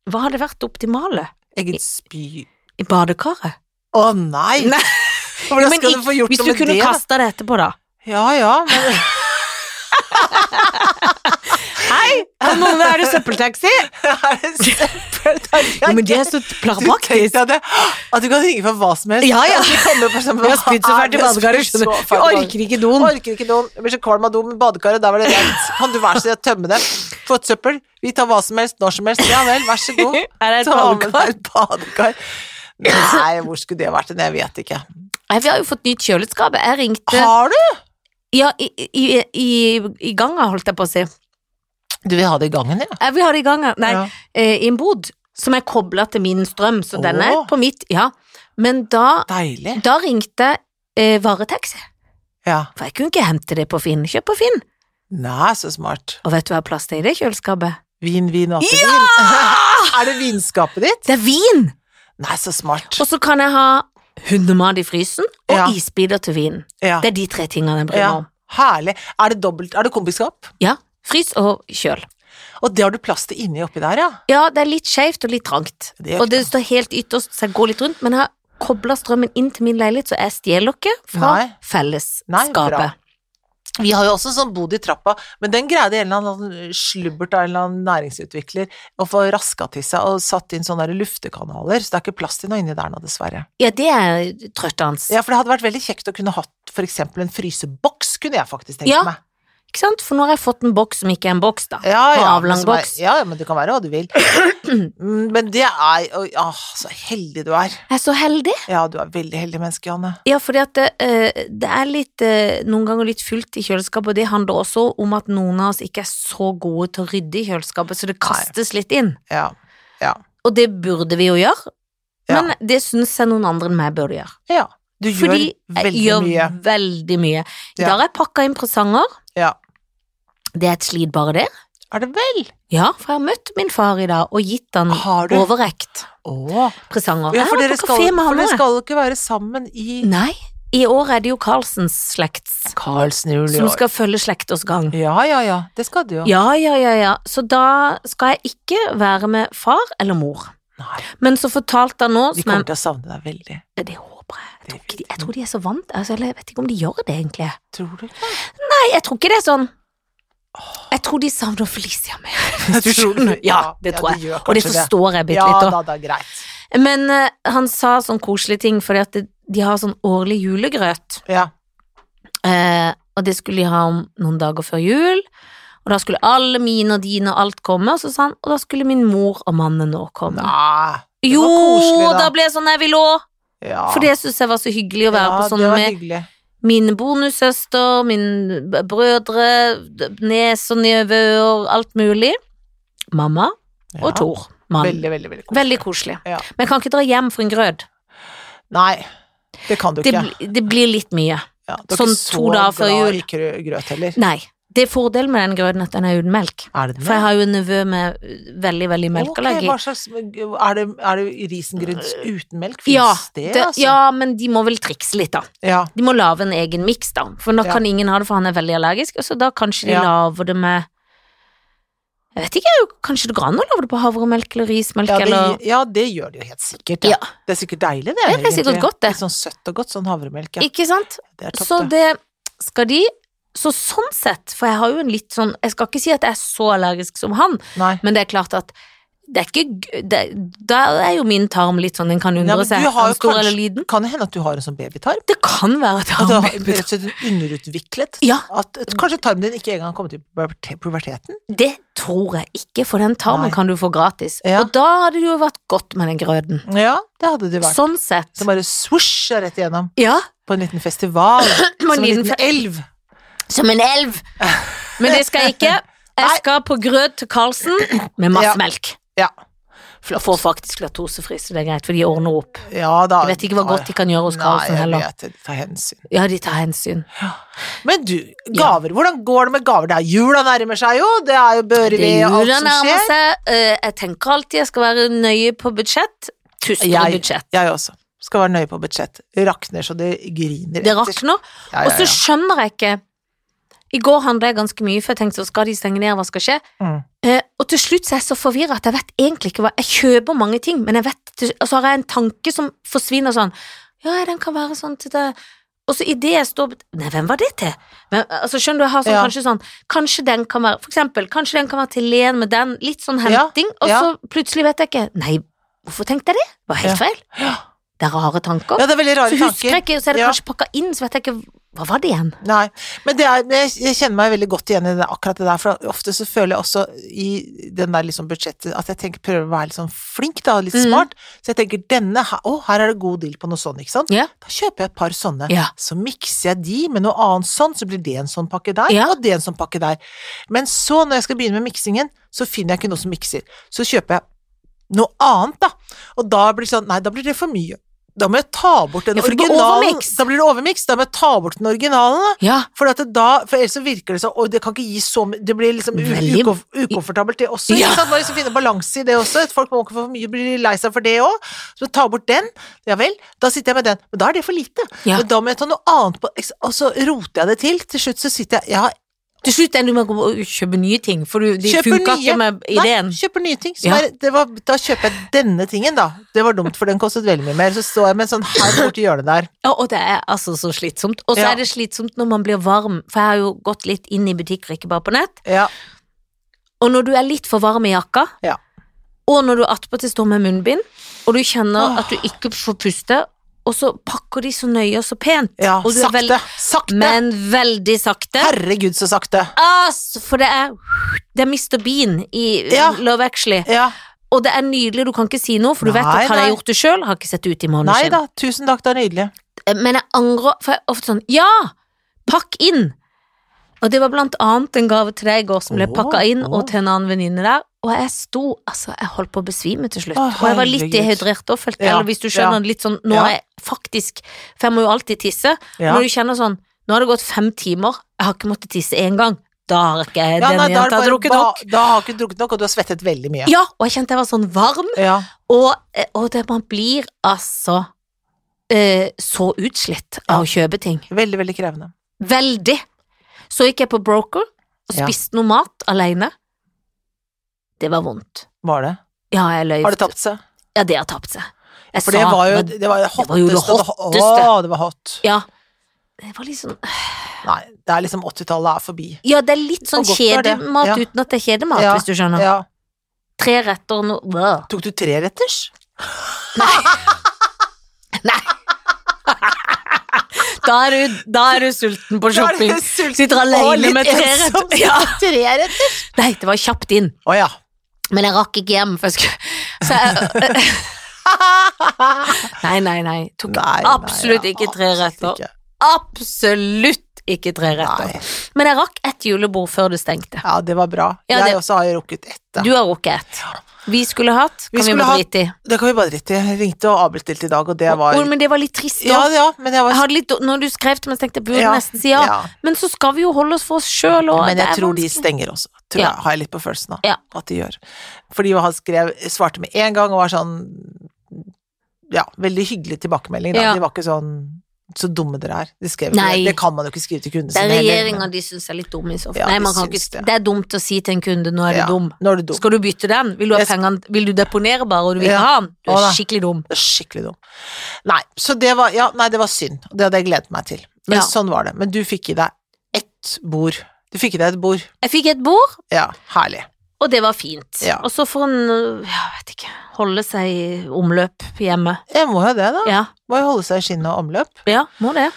S1: Hva hadde vært det optimale?
S2: Eget spy...
S1: I badekaret?
S2: Å nei!
S1: Nei.
S2: Hvordan
S1: Men
S2: skal du
S1: ikk-
S2: få gjort
S1: hvis
S2: noe
S1: du
S2: med
S1: kunne
S2: det? da?
S1: kasta det etterpå, da.
S2: Ja ja, men
S1: Hei, kom og vær det søppeltaxi!
S2: er det søppeltank?
S1: Jo, men det er så
S2: Du tenkte
S1: praktisk.
S2: at, det, at du kan ringe for hva som helst.
S1: Ja, ja.
S2: At du kommer på sånn,
S1: Vi har spydd så
S2: hva er
S1: fælt i
S2: det?
S1: badekaret,
S2: Spydd
S1: skjønner
S2: så fælt
S1: du.
S2: i
S1: Vi
S2: badekaret.
S1: orker ikke doen.
S2: Orker ikke doen. Jeg blir så kvalm av do, men badekaret, der var det rent. Kan du være så snill å tømme det? Få et søppel. Vi tar hva som helst, når som helst. Ja vel, vær så god.
S1: Er det et
S2: Ta med deg
S1: badekar?
S2: et badekar. Nei, hvor skulle det vært? Jeg vet ikke.
S1: Nei, Vi har jo fått nytt kjøleskap. Jeg ringte
S2: Har du?
S1: Ja, i, i, i, i ganga, holdt jeg på å si.
S2: Du vil ha det i gangen, ja.
S1: Jeg vil ha det i ganga. Nei,
S2: Ja.
S1: eh, i en bod som er kobla til min strøm, så den er
S2: Åh.
S1: på mitt. Ja. Men da,
S2: Deilig.
S1: da ringte eh, varetaxi,
S2: Ja.
S1: for jeg kunne ikke hente det på Finn. Kjøp på Finn.
S2: Nei, så smart.
S1: Og vet du hva er plass til i det kjøleskapet?
S2: Vin, vin og appelsin. er det vinskapet ditt?
S1: Det er vin!
S2: Nei, så smart.
S1: Og så kan jeg ha hundemat i frysen, og
S2: Ja.
S1: isbiter til vinen.
S2: Ja.
S1: Det er de tre tingene jeg bryr meg
S2: ja.
S1: om.
S2: Herlig. Er det dobbelt, er det kombiskap?
S1: Ja, Frys og kjøl.
S2: Og det har du plass til inni oppi der, ja.
S1: Ja, det er litt skjevt og litt trangt.
S2: Det gjør
S1: og det står helt ytterst, så jeg går litt rundt. Men jeg har kobla strømmen inn til min leilighet, så jeg stjeler ikke fra
S2: Nei. Nei, bra.
S1: fellesskapet.
S2: Vi har jo også en sånn bod i trappa, men den greide en eller annen eh, slubbert av en eller annen næringsutvikler å få raska til seg og satt inn sånne der luftekanaler, så det er ikke plass til noe inni der nå, dessverre.
S1: Ja, det er trøttans.
S2: Ja, for det hadde vært veldig kjekt å kunne hatt for eksempel en fryseboks, kunne jeg faktisk tenkt
S1: Ja.
S2: meg.
S1: Ikke sant? For nå har jeg fått en boks som ikke er en boks, da.
S2: Ja,
S1: Og
S2: ja,
S1: avlang
S2: men som er-
S1: boks.
S2: Ja, ja, men det kan være hva du vil. Mm, Men det er Åh, så heldig du er.
S1: Jeg er så heldig.
S2: Ja, du er veldig heldig menneske, Janne.
S1: Ja, fordi at det, eh, det er litt eh, noen ganger litt fullt i kjøleskapet, og det handler også om at noen av oss ikke er så gode til å rydde i kjøleskapet, så det kastes litt inn.
S2: Ja.
S1: Og det burde vi jo gjøre,
S2: Ja.
S1: men det syns jeg noen andre enn meg burde gjøre.
S2: ja. Du
S1: Fordi eh,
S2: gjør veldig
S1: jeg gjør
S2: mye.
S1: veldig mye. I
S2: Ja.
S1: dag har jeg pakka inn presanger.
S2: Ja.
S1: Det er et slit bare det.
S2: Er det vel?
S1: Ja, for jeg har møtt min far i dag og gitt han
S2: Har du?
S1: overrekt
S2: Åh.
S1: presanger.
S2: Ja,
S1: Jeg
S2: for
S1: var
S2: dere
S1: på
S2: skal,
S1: kafé med
S2: for
S1: han
S2: dere
S1: også.
S2: skal ikke være sammen i
S1: Nei, i år er det jo Carlsens slekts
S2: Karlsen
S1: som skal følge slekters gang.
S2: Ja, ja, ja. Det skal du jo.
S1: Ja, ja, ja, ja. Så da skal jeg ikke være med far eller mor.
S2: Nei,
S1: Men så fortalte han nå
S2: de
S1: som
S2: kommer
S1: jeg,
S2: til å savne deg veldig.
S1: Det håper jeg. Jeg tror, ikke de, jeg tror de er så vant altså, Eller jeg vet ikke om de gjør det, egentlig.
S2: Tror du ikke?
S1: Nei, jeg tror ikke det er sånn. Jeg tror de savner Felicia mer. hvis du skjønner. Ja, det tror jeg.
S2: gjør
S1: Og det
S2: kanskje
S1: forstår jeg bitte
S2: Ja
S1: litt òg.
S2: da, det er greit.
S1: Men eh, han sa sånn koselige ting, fordi at det- de har sånn årlig julegrøt.
S2: Ja.
S1: Eh, og det skulle de ha om noen dager før jul. Og da skulle alle mine og dine og alt komme, og så sa han, og da skulle min mor og mannen nå komme.
S2: Nei. det
S1: jo,
S2: var koselig, da.
S1: da. ble jeg sånn jeg vil òg,
S2: Ja.
S1: for det syns jeg var så hyggelig å være
S2: ja,
S1: på sånn
S2: det var
S1: med
S2: hyggelig.
S1: mine bonussøster, mine b- brødre, d- nes og nevøer, alt mulig. Mamma
S2: Ja.
S1: og Tor. Mann. Veldig,
S2: Veldig, veldig, veldig koselig.
S1: koselig.
S2: Ja.
S1: Men jeg kan ikke dra hjem for en grød.
S2: Nei, det kan du
S1: Det,
S2: ikke.
S1: bl- det blir litt mye.
S2: Ja, du er ikke
S1: sånn
S2: så
S1: to dager før
S2: glad
S1: jul.
S2: i krø- grøt heller.
S1: Nei. Det er fordelen med den grøten at den er uten melk.
S2: Er det
S1: For jeg har jo en nevø med uh, veldig, veldig melkeallergi.
S2: Ok, hva slags Er det, er det risengrøt uten melk? Fins
S1: Ja,
S2: det,
S1: det,
S2: altså?
S1: ja, men de må vel trikse litt, da.
S2: ja.
S1: De må lage en egen miks, da. For nå
S2: Ja.
S1: kan ingen ha det, for han er veldig allergisk. Og så da kanskje de
S2: Ja.
S1: lager det med Jeg vet ikke, kanskje det går an å lage det på havremelk eller rismelk
S2: Ja,
S1: eller
S2: det, ja, det gjør det jo helt sikkert. Ja.
S1: Ja.
S2: Det er sikkert deilig, det.
S1: Ja, det er sikkert
S2: egentlig.
S1: godt, det.
S2: Litt sånn søtt og godt, sånn havremelk. Ja.
S1: Ikke sånn sant?
S2: Det er topp,
S1: Så
S2: det.
S1: det skal de Så sånn sett, for jeg har jo en litt sånn Jeg skal ikke si at jeg er så allergisk som han,
S2: Nei.
S1: men det er klart at Det er ikke g- det, Der er jo min tarm litt sånn, den kan
S2: men
S1: undre seg.
S2: du
S1: Er
S2: har jo
S1: den stor
S2: kanskje-
S1: eller liten?
S2: Kan det hende at du har en sånn babytarm?
S1: Det kan være
S2: At du har rett
S1: tarmbaby.
S2: og slett en underutviklet?
S1: Ja,
S2: At, at kanskje tarmen din ikke engang har kommet i puberte- puberteten?
S1: det tror jeg ikke, for den tarmen
S2: Nei.
S1: kan du få gratis.
S2: Ja.
S1: Og da hadde det jo vært godt med den grøten.
S2: Ja, det hadde det vært.
S1: Sånn sett.
S2: Som bare svosja rett igjennom
S1: Ja,
S2: på en liten festival.
S1: På en
S2: som en
S1: liten
S2: liten
S1: fe-
S2: elv.
S1: som en elv. Men det skal jeg ikke. Jeg skal på grøt til Karlsen med masse
S2: Ja.
S1: melk.
S2: Ja.
S1: Og får faktisk laktosefri, så det er greit, for de ordner opp.
S2: ja da.
S1: Jeg vet ikke hva godt de kan gjøre hos Karlsen
S2: Nei, jeg
S1: heller.
S2: vet det. Ta hensyn.
S1: Ja, de tar hensyn.
S2: Men du, gaver. Hvordan går det med gaver? Det er Jula nærmer seg jo. Det er jo Børre
S1: Det
S2: ved og alt
S1: jula
S2: som
S1: nærmer
S2: skjer.
S1: seg. Eh, Jeg tenker alltid jeg skal være nøye på budsjett. Tusen
S2: Jeg-
S1: budsjett.
S2: Jeg også. Skal være nøye på budsjett. Rakner så det griner.
S1: Det
S2: etter.
S1: rakner.
S2: Ja,
S1: Og
S2: ja,
S1: så
S2: ja.
S1: skjønner jeg ikke I går handla jeg ganske mye, for jeg tenkte så skal de stenge ned, hva skal skje?
S2: Mm.
S1: Eh, og til slutt så er jeg så forvirra at jeg vet egentlig ikke hva Jeg kjøper mange ting, men jeg vet til- Og så har jeg en tanke som forsvinner sånn Ja, den kan være sånn til det Og så idet jeg står Nei, hvem var det til? Men, altså, skjønner du, jeg har sånn,
S2: Ja.
S1: kanskje sånn Kanskje den kan være For eksempel, kanskje den kan være til Len med den Litt sånn
S2: Ja,
S1: henting, og
S2: ja.
S1: så plutselig vet jeg ikke Nei, hvorfor tenkte jeg det? Det var helt
S2: Ja.
S1: feil. Det er rare tanker.
S2: Ja, det er veldig
S1: så
S2: rare tanker.
S1: husker jeg ikke, så er det
S2: Ja.
S1: kanskje pakka inn, så vet jeg ikke Hva var det igjen?
S2: Nei, men det er, men jeg jeg kjenner meg veldig godt igjen i det, akkurat det der, for ofte så føler jeg også i den der liksom budsjettet at jeg tenker prøver å være litt sånn flink da, litt
S1: Mhm.
S2: smart, så jeg tenker denne, her- å her er det god deal på noe sånn, ikke sant?
S1: Ja.
S2: Da kjøper jeg et par sånne,
S1: Ja.
S2: så mikser jeg de med noe annet sånn, så blir det en sånn pakke der,
S1: Ja.
S2: og det en sånn pakke der. Men så når jeg skal begynne med miksingen, så finner jeg ikke noe som mikser, så kjøper jeg noe annet da, og da blir det sånn, nei, da blir det for mye. Da må jeg ta bort den
S1: Ja, for det blir
S2: originalen.
S1: overmiks.
S2: Da blir det overmiks. Da må jeg ta bort den originalen da.
S1: Ja.
S2: For, at det da, for ellers så virker det sånn Oi, det kan ikke gi så mye Det blir liksom u-
S1: Veldig-
S2: ukomf ukomfortabelt, det også.
S1: Ja.
S2: Ikke sant? Man liksom finne balanse i det også. at Folk må ikke få for mye, blir lei seg for det òg. Så ta bort den. Ja vel, da sitter jeg med den. Men da er det for lite.
S1: Ja.
S2: Men da må jeg ta noe annet på Og så roter jeg det til. Til slutt så sitter jeg Jeg har
S1: Til slutt ender du med å gå og kjøpe nye ting, for du, de
S2: Kjøper
S1: funka
S2: nye.
S1: ikke med ideen.
S2: Nei, kjøper nye ting. Som
S1: Ja.
S2: er, det var, da kjøper jeg denne tingen, da. Det var dumt, for den kostet veldig mye mer. Så står jeg med en sånn her borti hjørnet der.
S1: Ja, og det er altså så slitsomt. Og så
S2: Ja.
S1: er det slitsomt når man blir varm, for jeg har jo gått litt inn i butikker, ikke bare på nett.
S2: Ja.
S1: Og når du er litt for varm i jakka,
S2: Ja.
S1: og når du attpåtil står med munnbind, og du kjenner
S2: Åh.
S1: at du ikke får puste, og så pakker de så nøye og så pent,
S2: ja
S1: Og du er
S2: sakte.
S1: vel-
S2: Sakte.
S1: men veldig sakte.
S2: Herregud, så sakte.
S1: Ass, for det er Det er Mr. Bean i
S2: Ja.
S1: Love Actually.
S2: Ja.
S1: Og det er nydelig, du kan ikke si noe, for du vet
S2: Nei,
S1: at hadde jeg
S2: nei.
S1: gjort det sjøl, har ikke sett det ut i måneden.
S2: Nei
S1: selv.
S2: da, tusen takk, det er nydelig.
S1: Men jeg angrer, for jeg er ofte sånn Ja! Pakk inn! Og det var blant annet en gave til deg i går som ble
S2: Åh,
S1: pakka inn, og
S2: åh.
S1: til en annen venninne der. Og jeg sto Altså, jeg holdt på å besvime til slutt.
S2: Å,
S1: og jeg var litt
S2: herregud.
S1: dehydrert og følte
S2: Ja,
S1: Eller hvis du
S2: ja.
S1: skjønner litt sånn Nå
S2: Ja.
S1: er jeg faktisk For jeg må jo alltid tisse.
S2: Ja.
S1: Når du kjenner sånn Nå har det gått fem timer, jeg har ikke måttet tisse én gang. Da har ikke jeg
S2: Ja,
S1: den
S2: nei, da, er det
S1: jenta
S2: bare,
S1: drukket
S2: ba-
S1: nok.
S2: da har ikke du drukket nok, og du har svettet veldig mye.
S1: Ja, og jeg kjente jeg var sånn varm,
S2: Ja.
S1: og, eh, og det, man blir altså eh, så utslitt av å kjøpe ting.
S2: Veldig, veldig krevende.
S1: Veldig. Så gikk jeg på Broker og
S2: Ja.
S1: spiste noe mat alene. Det var vondt.
S2: Var det?
S1: Ja, jeg løy.
S2: Har det tapt seg?
S1: Ja, det har tapt seg. Jeg
S2: For det
S1: sa,
S2: var jo
S1: men
S2: det var det
S1: var jo det
S2: hotteste.
S1: hotteste.
S2: Å, det var hot.
S1: Ja. Det var litt sånn
S2: Nei, det er liksom 80-tallet er forbi.
S1: Ja, det er litt sånn
S2: Og godt var det.
S1: kjedemat
S2: Ja.
S1: uten at det er kjedemat,
S2: Ja.
S1: hvis du skjønner.
S2: Ja.
S1: Tre retter og noe Blah.
S2: Tok du treretters?
S1: Nei! da, er du, da er du sulten på
S2: Da er
S1: shopping.
S2: jeg sulten
S1: Sitter
S2: og
S1: alene
S2: litt
S1: med tre
S2: ensom.
S1: retter. Ja.
S2: Treretters?
S1: Nei, det var kjapt inn.
S2: Å ja.
S1: Men jeg rakk ikke hjem, for jeg skulle Så jeg Nei, nei, nei. Tok
S2: Nei,
S1: absolutt
S2: nei,
S1: ikke tre retter.
S2: ikke.
S1: absolutt ikke tre retter.
S2: Nei.
S1: Men jeg rakk ett julebord før det stengte.
S2: Ja, det var bra.
S1: Ja, det-
S2: Jeg også har jo rukket ett. da.
S1: Du har rukket ett. Vi skulle hatt,
S2: Vi
S1: kan vi,
S2: skulle
S1: bare
S2: hatt-
S1: drite i.
S2: Det kan vi bare drite i. Jeg ringte og avbestilte i dag, og det var
S1: Å, Men det var litt trist
S2: Ja,
S1: òg.
S2: ja, men jeg var
S1: Når du skrev til meg, så tenkte jeg burde
S2: Ja,
S1: nesten si ja. Men så skal vi jo holde oss for oss sjøl òg.
S2: Men jeg tror de stenger også, tror
S1: Ja.
S2: jeg, har jeg litt på følelsen av
S1: Ja.
S2: at de gjør. Fordi han skrev, svarte med en gang og var sånn Ja, veldig hyggelig tilbakemelding, da.
S1: Ja.
S2: De var ikke sånn så dumme dere er. De skrev ikke
S1: Nei.
S2: det. Det kan man jo ikke skrive til kundene
S1: Det er
S2: sine
S1: regjeringa de syns er litt dum i så fall.
S2: Ja,
S1: Nei,
S2: de
S1: man kan
S2: syns
S1: ikke,
S2: det.
S1: det er dumt å si til en kunde 'nå er du
S2: Ja.
S1: dum'.
S2: Nå er du dum.
S1: Skal du bytte den? Vil du, ha
S2: Jeg sk-
S1: pengene, vil du deponere bare, og du vil
S2: Ja.
S1: ikke ha den? Du
S2: Å,
S1: er
S2: da.
S1: skikkelig dum.
S2: Det er Skikkelig dum. Nei, så det var Ja, nei, det var synd. Det hadde jeg gledet meg til. Men
S1: Ja.
S2: sånn var det. Men du fikk i deg ett bord. Du fikk i deg et bord.
S1: Jeg fikk et bord,
S2: Ja, herlig.
S1: Og det var fint.
S2: Ja.
S1: Og så får en, ja, vet ikke, holde seg i omløp hjemme.
S2: Jeg må jo det, da.
S1: Ja,
S2: Må jo holde seg i skinnet og omløp.
S1: ja må det.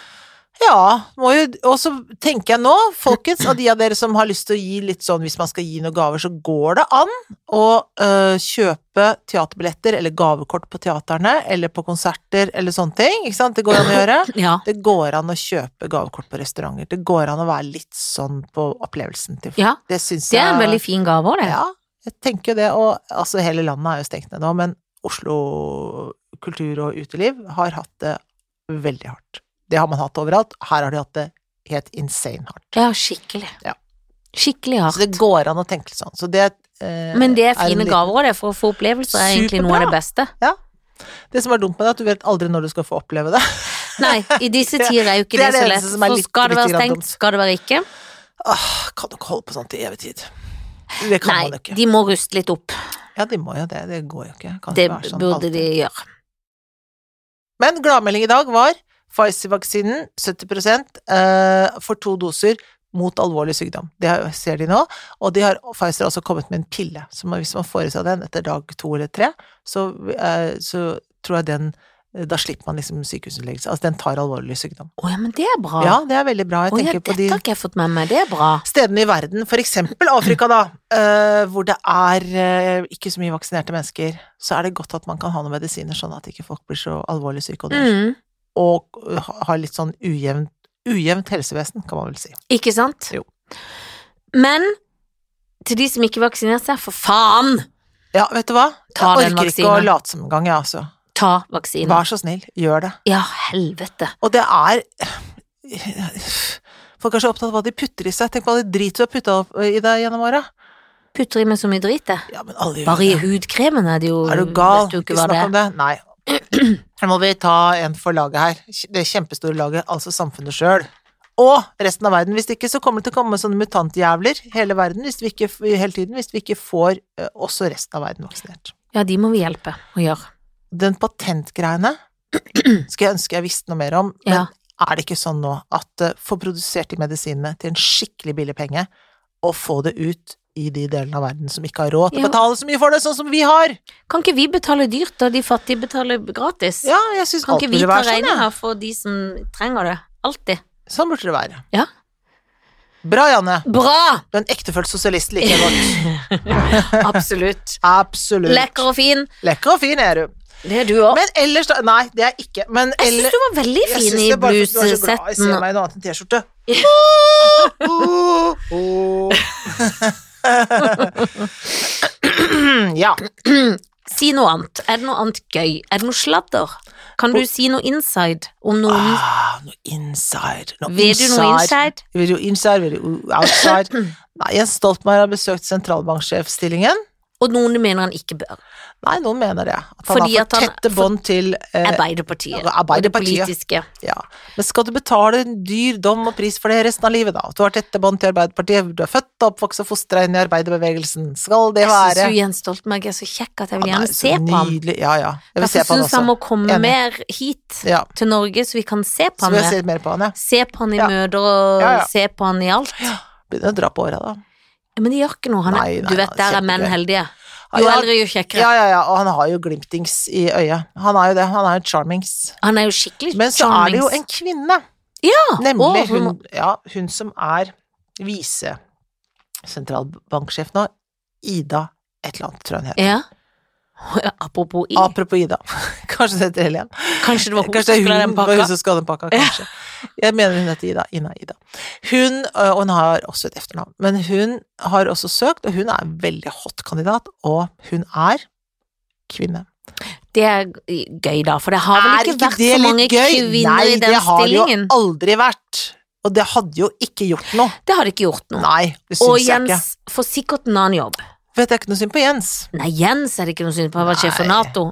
S2: Ja, må jo Og så tenker jeg nå, folkens, og de av dere som har lyst til å gi litt sånn hvis man skal gi noen gaver, så går det an å øh, kjøpe teaterbilletter eller gavekort på teaterne eller på konserter eller sånne ting. Ikke sant? Det går an å gjøre.
S1: Ja.
S2: Det går an å kjøpe gavekort på restauranter. Det går an å være litt sånn på opplevelsen til folk.
S1: ja.
S2: Det syns
S1: Det
S2: jeg
S1: er en veldig fin gave òg, det.
S2: Ja, jeg tenker jo det. Og altså, hele landet er jo stengt ned nå, men Oslo kultur og uteliv har hatt det veldig hardt. Det har man hatt overalt. Her har de hatt det helt insane hardt.
S1: Ja, skikkelig.
S2: Ja.
S1: Skikkelig
S2: Så
S1: hardt.
S2: det går an å tenke litt sånn. Så det, eh,
S1: Men det er
S2: en
S1: fine
S2: liten-
S1: gaver òg, det, for å få opplevelser er egentlig noe av det beste.
S2: Det som er dumt med det, er at du vet aldri når du skal få oppleve det.
S1: Nei, i disse tider er jo ikke
S2: Det
S1: det,
S2: er det
S1: så
S2: eneste
S1: lett.
S2: som er
S1: Så
S2: litt-
S1: skal det
S2: litt
S1: være
S2: grann
S1: stengt,
S2: dumt.
S1: skal det være ikke.
S2: Åh, kan du ikke holde på sånn til evig tid? Det kan man jo
S1: Nei,
S2: ikke.
S1: de må ruste litt opp.
S2: Ja, de må jo det. Det går jo ikke. Kan
S1: Det
S2: ikke være sånn
S1: burde
S2: alltid.
S1: de gjøre.
S2: Men gladmelding i dag var Pfizer-vaksinen 70 eh, for to doser mot alvorlig sykdom. Det har- ser de nå. Og de har, Pfizer har også kommet med en pille. Så man- hvis man får i seg den etter dag to eller tre, så, eh, så tror jeg den da slipper man liksom sykehusinnleggelse. Altså, den tar alvorlig sykdom.
S1: Å ja, men det er bra.
S2: Ja, det er veldig bra. Jeg
S1: Å ja,
S2: tenker
S1: dette
S2: på de
S1: har ikke jeg fått med meg, det er bra.
S2: stedene i verden, for eksempel Afrika, da, eh, hvor det er eh, ikke så mye vaksinerte mennesker, så er det godt at man kan ha noen medisiner sånn at ikke folk blir så alvorlig syke og dør
S1: Mm,
S2: og ha- har litt sånn ujevnt, ujevnt helsevesen, kan man vel si.
S1: ikke sant?
S2: Jo.
S1: Men til de som ikke vaksinerer seg, for faen!
S2: Ja, vet du hva?
S1: Ta
S2: jeg
S1: den
S2: orker ikke å
S1: vaksinen.
S2: late som engang, jeg, altså.
S1: Ta vaksinen.
S2: Vær så snill, gjør det.
S1: Ja, helvete.
S2: Og det er Folk er så opptatt av hva de putter i seg. Tenk på all det drit du har putta opp i deg gjennom åra.
S1: Putter i meg så mye drit, det.
S2: Ja, men alle gjør
S1: Bare i
S2: det.
S1: hudkremen er det jo
S2: Er du gal?
S1: Vet du
S2: Ikke
S1: ikke hva
S2: snakk
S1: det
S2: om
S1: er.
S2: det. Nei. Her må vi ta en for laget her. Det kjempestore laget, altså samfunnet sjøl. Og resten av verden. Hvis ikke så kommer det til å komme sånne mutantjævler hele verden hvis vi ikke, hele tiden, hvis vi ikke får eh, også resten av verden vaksinert.
S1: Ja, de må vi hjelpe å gjøre.
S2: Den patentgreiene skulle jeg ønske jeg visste noe mer om, men
S1: Ja.
S2: er det ikke sånn nå at eh, få produsert de medisinene til en skikkelig billig penge, og få det ut i de delene av verden som ikke har råd til å
S1: Jo.
S2: betale så mye for det, sånn som vi har?
S1: Kan ikke vi betale dyrt, da de fattige betaler gratis?
S2: Ja, jeg syns
S1: Kan
S2: alt
S1: ikke vi
S2: burde
S1: ta
S2: være sånn. jeg.
S1: regninga for de som trenger det? Alltid.
S2: Sånn burde det være.
S1: Ja.
S2: Bra, Janne.
S1: Bra!
S2: Du er en ektefølt sosialist like godt.
S1: Absolutt.
S2: Absolutt.
S1: Lekker og fin.
S2: Lekker og fin er du.
S1: Det er du òg.
S2: Men ellers da Nei, det er jeg ikke. Men
S1: Jeg syns
S2: ellers
S1: du var veldig
S2: Jeg
S1: fin
S2: syns
S1: i
S2: det er bare fordi Du er så glad i å se meg i
S1: bluessetten.
S2: noe annet enn T-skjorte.
S1: Ja.
S2: Oh, oh, oh. ja.
S1: Si noe annet. Er det noe annet gøy? Er det noe sladder? Kan du si noe inside om noen
S2: Ah, noe inside. Noe
S1: Vil du noe inside?
S2: Vil du inside, vil du outside? Nei, Jens Stoltenberg har besøkt sentralbanksjefstillingen.
S1: Og noen du mener han ikke bør?
S2: Nei, noen mener det. At han
S1: Fordi
S2: har
S1: at
S2: for
S1: han-
S2: tette
S1: for-
S2: bånd til eh,
S1: Arbeiderpartiet.
S2: ja,
S1: Og det
S2: Arbeiderpartiet.
S1: politiske.
S2: Ja, men skal du betale en dyr dom og pris for det resten av livet, da? At du har tette bånd til Arbeiderpartiet, du er født og oppvokst og fostra inn i arbeiderbevegelsen. Skal det
S1: Jeg syns
S2: være
S1: jo Jens Stoltenberg er så kjekk at jeg vil
S2: Han er
S1: gjerne
S2: så
S1: se på ham.
S2: Nydelig. Ja, ja. Jeg vil se
S1: Derfor
S2: på han
S1: syns
S2: også.
S1: han må komme
S2: Enig.
S1: mer hit
S2: Ja.
S1: til Norge, så vi kan se på
S2: Så
S1: ham
S2: vil jeg
S1: mer.
S2: se mer på han, jeg.
S1: Se på han i
S2: Ja.
S1: møter og
S2: Ja, ja.
S1: se på han i alt.
S2: Begynner å dra på åra, da.
S1: Men det gjør ikke noe. Han er,
S2: Nei, nei,
S1: du vet,
S2: nei,
S1: der er menn
S2: kjempegøy.
S1: heldige.
S2: Ja,
S1: Jo
S2: ja.
S1: eldre, jo kjekkere.
S2: Ja, ja, ja, og han har jo glimtings i øyet. Han er jo det. Han er jo charmings.
S1: Han er jo skikkelig
S2: Men så er det jo en kvinne,
S1: charmings.
S2: nemlig
S1: Å, hun
S2: hun,
S1: må-
S2: ja, hun som er visesentralbanksjef nå, Ida et eller annet, tror jeg hun heter.
S1: Ja. Apropos Eh, i.
S2: Apropos Ida. Kanskje det heter Helen.
S1: Kanskje det var hun som
S2: Kanskje det er
S1: skulle ha
S2: hun,
S1: den
S2: var hun
S1: pakka.
S2: som skal ha den pakka, kanskje. Jeg mener hun heter Ida. Ina Ida. Hun, ø, og hun har også et etternavn, men hun har også søkt, og hun er en veldig hot kandidat, og hun er kvinne.
S1: Det er gøy, da, for det har vel ikke, vært så mange kvinner
S2: Nei,
S1: i den
S2: det har det jo
S1: stillingen.
S2: aldri vært. Og det hadde jo ikke gjort noe.
S1: Det har det ikke gjort noe.
S2: Nei, det
S1: Og
S2: syns jeg ikke.
S1: Jens får sikkert en annen jobb.
S2: Vet jeg ikke noe synd på Jens.
S1: Nei, Jens er det ikke noe synd på, han var sjef for
S2: Nei.
S1: Nato.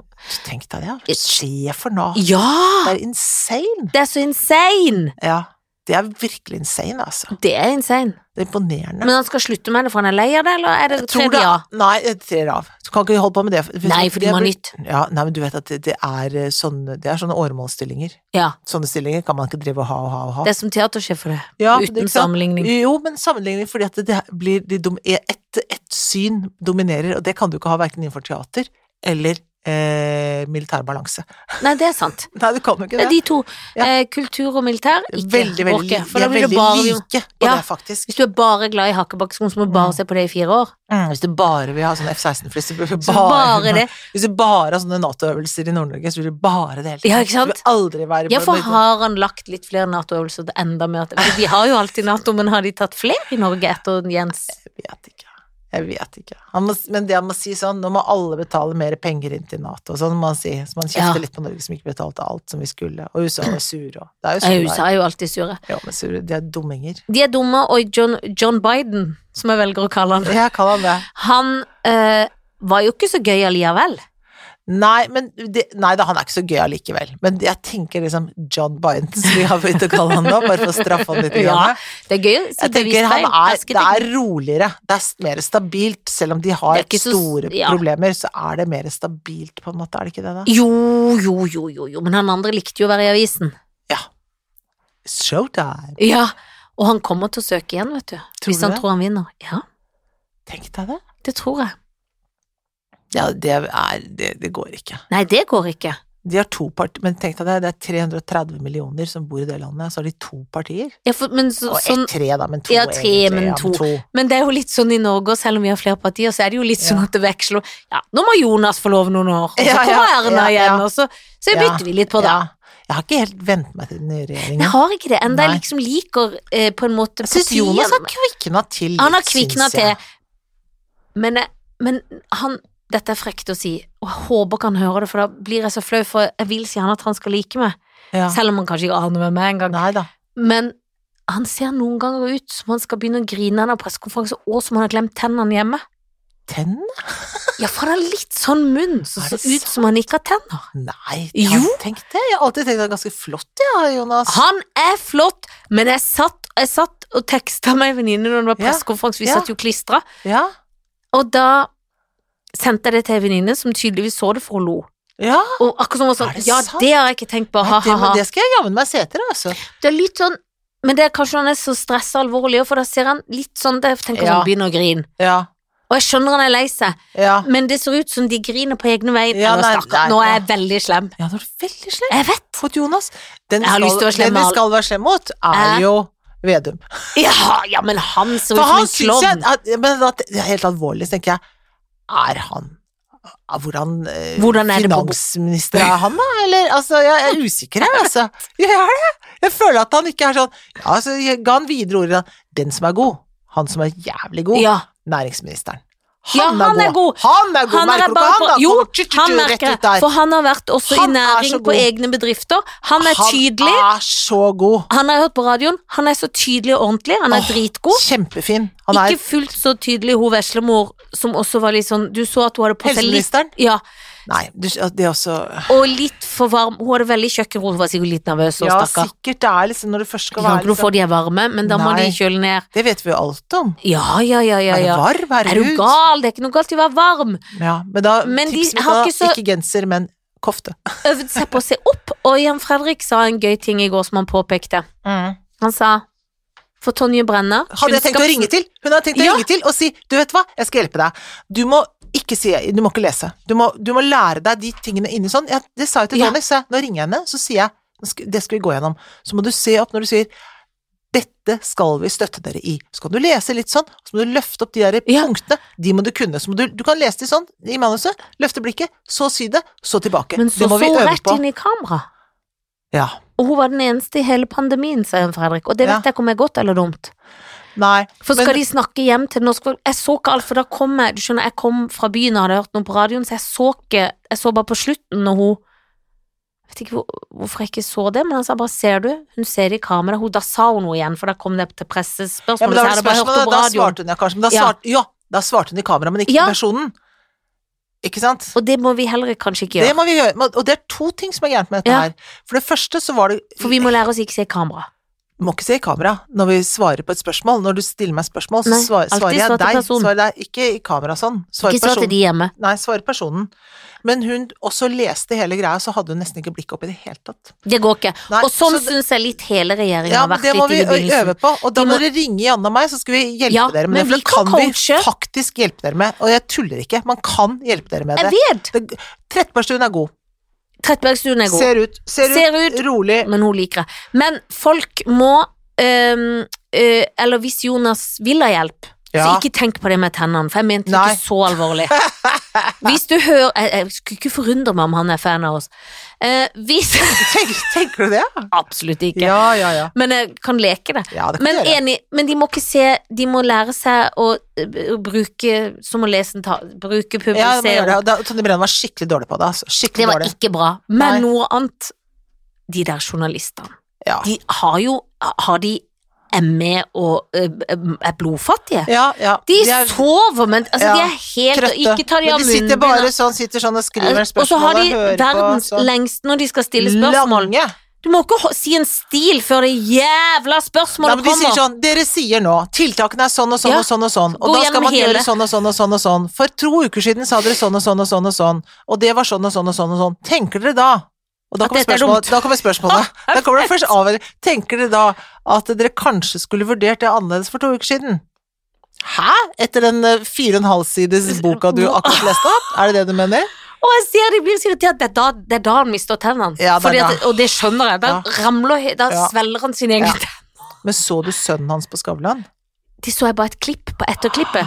S2: Tenk deg det, ja. sjef for Nav.
S1: Ja!
S2: Det er insane.
S1: Det er så insane!
S2: Ja. Det er virkelig insane, altså.
S1: Det er insane.
S2: Det er imponerende.
S1: Men han skal slutte med det, for han er lei av det, eller er det
S2: Jeg tror
S1: tredje ja?
S2: det- Nei, det trer av. Du kan ikke holde på med det. for-
S1: Nei, for
S2: det
S1: de må ha
S2: blir-
S1: nytt.
S2: Ja, nei, men du vet at det, det er eh, sånne, det er sånne åremålsstillinger.
S1: Ja.
S2: Sånne stillinger kan man ikke drive og ha og ha og ha.
S1: Det er som teatersjef for det.
S2: Ja, det er
S1: Uten
S2: ikke sant?
S1: sammenligning.
S2: Jo, men sammenligning fordi at det blir de dom, ett, ett syn dominerer, og det kan du ikke ha verken innenfor teater eller eh, militær balanse.
S1: Nei, det er sant.
S2: Nei, du kan jo ikke det.
S1: Det er de to.
S2: Ja.
S1: Eh, kultur og militær, ikke
S2: veldig, veldig,
S1: orker.
S2: like-
S1: For da
S2: de er
S1: blir du
S2: veldig
S1: bare
S2: like på
S1: Ja.
S2: det, faktisk.
S1: Hvis du er bare glad i hakkebakkesko, så må du bare se på det i fire år.
S2: Mm, hvis du bare vil ha sånne F-16-fly, så blir du
S1: Så bare det.
S2: Hvis du bare har sånne Nato-øvelser i Nord-Norge, så vil du bare det hele
S1: Ja, ikke sant?
S2: Du vil aldri være
S1: Ja, for har han lagt litt flere Nato-øvelser til enda mer til? Vi har jo alltid Nato, men har de tatt flere i Norge etter Jens?
S2: Jeg vet ikke. Jeg vet ikke. Han må, men det han må si sånn, nå må alle betale mer penger inn til Nato, sånn må han si. Så man kjefter
S1: Ja.
S2: litt på Norge som ikke betalte alt som vi skulle. Og USA var sure og Det er jo
S1: Nei,
S2: sånn det er.
S1: USA er jo alltid sure.
S2: Ja, men sure, de er dumminger.
S1: De er dumme, og John, John Biden, som jeg velger å kalle han,
S2: Jeg kaller han det.
S1: han eh, var jo ikke så gøy allikevel.
S2: Nei, men det, nei da, han er ikke så gøy allikevel. Men jeg tenker liksom John Biden, som vi har begynt å kalle han nå, bare for å straffe han litt.
S1: Ja,
S2: grann.
S1: det er gøy å si
S2: Jeg
S1: bevisst
S2: tenker han
S1: feil.
S2: er, Det
S1: Hersketeknikk.
S2: er roligere, det er s- mer stabilt. Selv om de har
S1: Det er ikke så s-
S2: store
S1: ja.
S2: problemer, så er det mer stabilt, på en måte. Er det ikke det, da?
S1: Jo, jo, jo, jo, jo, men han andre likte jo å være i avisen.
S2: Showtime!
S1: Ja, og han kommer til å søke igjen, vet du.
S2: Tror
S1: hvis
S2: du
S1: han
S2: det?
S1: tror han vinner. Ja,
S2: Tenk deg det.
S1: det tror jeg.
S2: Ja, det, er, det, det går ikke.
S1: Nei, det går ikke.
S2: De har to part, men tenk deg det, det er 330 millioner som bor i det landet, så har de to partier.
S1: Ja, for, men, så,
S2: Og
S1: sånn,
S2: ett, tre, da, men to.
S1: Ja, tre,
S2: egentlig.
S1: men
S2: Ja,
S1: to. men det er jo litt sånn i Norge, og selv om vi har flere partier, så er det jo litt sånn
S2: Ja.
S1: at det veksler. Ja, nå må Jonas få love noen år, og så
S2: Ja, ja,
S1: kommer Erna
S2: ja, ja.
S1: igjen, og så, så
S2: Ja,
S1: bytter vi litt på det.
S2: Ja. Jeg har ikke helt vent meg til den nye regjeringen.
S1: Jeg har ikke det enda jeg
S2: Nei.
S1: liksom liker eh, på en måte
S2: Jeg syns
S1: partiet,
S2: Jonas har
S1: men-
S2: kvikna til. litt,
S1: Han har kvikna
S2: syns
S1: til.
S2: jeg.
S1: Men, jeg- men han Dette er frekt å si, og jeg håper ikke han hører det, for da blir jeg så flau, for jeg vil si han at han skal like meg,
S2: Ja.
S1: selv om han kanskje ikke aner hvem jeg er engang.
S2: Nei da.
S1: Men han ser noen ganger ut som han skal begynne å grine av pressekonferanse, og som han har glemt tennene hjemme.
S2: Tennene?
S1: Ja, for han har litt sånn munn som
S2: Er
S1: ser
S2: det
S1: ut som han ikke har tenner.
S2: Nei,
S1: Jo.
S2: tenk det. Jeg har alltid tenkt at det er ganske flott, ja, Jonas.
S1: Han er flott, men jeg satt, jeg satt og teksta med ei venninne når det var
S2: Ja,
S1: pressekonferanse, vi
S2: ja.
S1: satt jo klistra,
S2: Ja.
S1: og da sendte jeg det til ei venninne som tydeligvis så det, for hun lo.
S2: ja.
S1: Og akkurat som hun var
S2: Er
S1: sånn,
S2: det
S1: ja,
S2: sant?
S1: det har jeg ikke tenkt på,
S2: Nei, det,
S1: ha-ha-ha.
S2: men
S1: Det,
S2: det skal jeg jammen meg se etter, altså.
S1: er litt sånn, men det er kanskje han er så stressa og alvorlig, for da ser han litt sånn, det tenker
S2: Ja.
S1: han begynner å grine.
S2: Ja.
S1: Og jeg skjønner han er lei seg,
S2: Ja.
S1: men det ser ut som de griner på egne veier.
S2: Ja,
S1: nå,
S2: nei, nei,
S1: stakkar, nå er jeg
S2: ja.
S1: veldig slem.
S2: Ja, det var veldig slem
S1: Jeg vet.
S2: mot Jonas. Den
S1: Jeg har lyst til å være slem
S2: den
S1: med
S2: vi
S1: alle.
S2: skal være slem mot, er
S1: Hæ?
S2: jo Vedum.
S1: Ja, ja men han ser ut
S2: For
S1: som liksom
S2: han
S1: en
S2: syns jeg
S1: klovn.
S2: at, men at, det er Helt alvorlig, så tenker jeg. Er han er- Hvordan, eh,
S1: Hvordan er det på-
S2: finansminister er han, da? Eller, altså, jeg er usikker, jeg, altså. Jeg er det. Jeg føler at han ikke er sånn ja, altså, Jeg ga han videre ordet. da. Den som er god. Han som er jævlig god.
S1: Ja.
S2: Næringsministeren.
S1: Ja, han er god.
S2: Han er god,
S1: Han er
S2: merker du
S1: bare
S2: ikke han,
S1: på,
S2: da?
S1: jo,
S2: Kommer tju, tju, tju,
S1: han
S2: altså. rett ut
S1: merker det,
S2: der.
S1: for han har vært også i
S2: Han er
S1: næring
S2: så
S1: på
S2: god.
S1: egne bedrifter. Han er tydelig,
S2: Han er så god.
S1: han har jeg hørt på radioen, han er så tydelig og ordentlig, han er
S2: Åh,
S1: dritgod.
S2: Kjempefin. Han er
S1: Ikke fullt så tydelig hun veslemor, som også var litt sånn Du så at hun hadde på seg litt
S2: helseministeren.
S1: Ja,
S2: Nei, du, det er også
S1: og litt for varm. Hun hadde veldig kjøkkenro, hun var sikkert litt nervøs og
S2: Ja,
S1: stakkar.
S2: sikkert. Det er liksom når du først
S1: Kan
S2: skal
S1: ikke
S2: være
S1: noe for
S2: liksom,
S1: de er varme, men da må de
S2: Nei.
S1: kjøle ned.
S2: Det vet vi jo alt om.
S1: Ja, ja, ja, ja.
S2: Er det
S1: ja.
S2: varm?
S1: Er du
S2: Herregud.
S1: gal? Det er ikke noe galt i å være varm.
S2: Ja, men da
S1: Men de
S2: tipser vi
S1: har
S2: da
S1: ikke
S2: ikke,
S1: så-
S2: genser, men kofte.
S1: Øvd seg på å se opp, og Jan Fredrik sa en gøy ting i går som han påpekte. Han sa for Tonje Brenna
S2: Hadde jeg tenkt å ringe til? Hun hadde tenkt å
S1: Ja.
S2: ringe til og si 'du vet hva, jeg skal hjelpe deg'. Du må ikke si Du må ikke lese. Du må, du må lære deg de tingene inni sånn. Jeg, det sa jeg til
S1: Ja.
S2: Tony, så jeg, nå ringer jeg henne, så sier jeg "Nå skal- 'det skal vi gå gjennom'. Så må du se opp når du sier 'dette skal vi støtte dere i'. Så kan du lese litt sånn, så må du løfte opp de der
S1: Ja.
S2: punktene. De må du kunne. Så må du, du kan lese de sånn i manuset, løfte blikket, så si det, så tilbake.
S1: Men så
S2: det må
S1: så
S2: vi
S1: hun
S2: øve
S1: rett
S2: på.
S1: inn i kamera.
S2: Ja.
S1: Og hun var den eneste i hele pandemien, sa Jan Fredrik. Og det
S2: Ja.
S1: vet jeg ikke om er godt eller dumt.
S2: Nei.
S1: For skal
S2: Men-
S1: de snakke hjem til norsk folk Jeg så ikke alt, for da kom jeg Du skjønner, jeg kom fra byen og hadde hørt noe på radioen, så jeg så ikke Jeg så bare på slutten når hun Jeg vet ikke hvor, hvorfor jeg ikke så det, men han sa bare 'ser du', hun ser det i kamera. Hun, da sa hun noe igjen, for da kom det til pressespørsmål.
S2: Ja, men da
S1: så
S2: var det
S1: jeg hadde bare hørt
S2: spørsmålet,
S1: det på
S2: da
S1: radioen.
S2: svarte hun ja, kanskje, men da
S1: Ja.
S2: svarte, ja, da svarte hun i kamera, men ikke
S1: Ja.
S2: personen. Ikke sant?
S1: Og det må vi heller kanskje ikke
S2: Det
S1: gjøre,
S2: må vi gjøre, men- og det er to ting som er gærent med dette
S1: Ja.
S2: her. For det første så var det
S1: for vi må lære oss ikke se kamera.
S2: må ikke se i kamera når vi svarer på et spørsmål. Når du stiller meg spørsmål, så
S1: Nei,
S2: svar,
S1: alltid
S2: svarer jeg
S1: svar til
S2: deg.
S1: personen.
S2: Svarer deg. Ikke i kamera sånn. Svarer
S1: Ikke svar til
S2: personen.
S1: de hjemme.
S2: Nei, svarer personen. Men hun også leste hele greia, så hadde hun nesten ikke blikket opp i det hele tatt.
S1: Det går ikke.
S2: Nei,
S1: og sånn
S2: så det-
S1: syns jeg litt hele regjeringen
S2: Ja,
S1: har
S2: men
S1: vært
S2: Det må
S1: litt
S2: vi
S1: i
S2: ø-
S1: begynnelsen.
S2: øve på, og da
S1: De
S2: må
S1: må-
S2: dere ringe Janne og meg, så skal vi hjelpe
S1: Ja,
S2: dere med det.
S1: men
S2: For
S1: vi
S2: det kan
S1: kan
S2: vi
S1: coache.
S2: faktisk hjelpe dere med, og jeg tuller ikke. Man kan hjelpe dere med
S1: Jeg
S2: det.
S1: vet!
S2: det Trettebergstuen er god.
S1: Trettebergstuen er god.
S2: Ser ut, ser ut,
S1: Ser ut,
S2: rolig.
S1: men hun liker det. Men folk må øhm, øh, Eller hvis Jonas vil ha hjelp, så
S2: Ja.
S1: ikke tenk på det med tennene, for jeg mente det
S2: Nei.
S1: ikke så alvorlig. Hvis du hører Jeg, jeg skulle ikke forundre meg om han er fan av oss. Eh, hvis
S2: Tenk, tenker du det?
S1: Absolutt ikke.
S2: Ja, ja, ja.
S1: Men jeg kan leke det.
S2: Ja, det kan
S1: Men
S2: dere.
S1: enig, men de må ikke se De må lære seg å eh, bruke Som å lese en ta... Bruke,
S2: Ja, det må
S1: publisere
S2: gjøre det. Da- Tonje Brenna var skikkelig dårlig på det. Altså.
S1: Det
S2: Skikkelig
S1: var
S2: dårlig.
S1: ikke bra. Men
S2: Nei.
S1: noe annet De der journalistene.
S2: Ja.
S1: De har jo Har de ME og ø, ø, er blodfattige?
S2: Ja, ja.
S1: De
S2: er
S1: sover, men altså,
S2: Ja,
S1: de er helt
S2: trøtte.
S1: Ikke tar de av
S2: Men de sitter
S1: munnbind.
S2: bare sånn, sitter sånn og skriver
S1: og så
S2: spørsmål og
S1: har de
S2: hører på.
S1: verdens
S2: sånn.
S1: lengste når de skal stille spørsmål.
S2: Lange.
S1: Du må ikke ho- si en stil før det jævla
S2: Nei,
S1: spørsmålet
S2: men de sier
S1: kommer.
S2: sånn, dere sier nå, tiltakene er sånn og sånn
S1: Ja.
S2: og sånn og sånn,
S1: Gå
S2: og da skal
S1: gjennom
S2: man
S1: hele.
S2: gjøre sånn og sånn og sånn og sånn. For to uker siden sa dere sånn og sånn og sånn og sånn, og det var sånn og sånn og sånn og sånn. Tenker dere da? Og da
S1: At
S2: kommer
S1: dette er
S2: spørsmålet. Da kommer spørsmålet. Da kommer det først av eller Tenker dere da at dere kanskje skulle vurdert det annerledes for to uker siden? Hæ? Etter den eh, fire og en halv sides boka du akkurat leste opp? Er det det du mener?
S1: Og jeg ser de blir så irritert. Det er da, det er da han mister tennene.
S2: Ja, det er
S1: Fordi at,
S2: da.
S1: og det skjønner jeg. Da,
S2: Ja.
S1: ramler, he- da
S2: Ja.
S1: svelger han sine egne
S2: Ja.
S1: tenner.
S2: Men så du sønnen hans på Skavlan?
S1: De så jeg bare et klipp på etterklippet.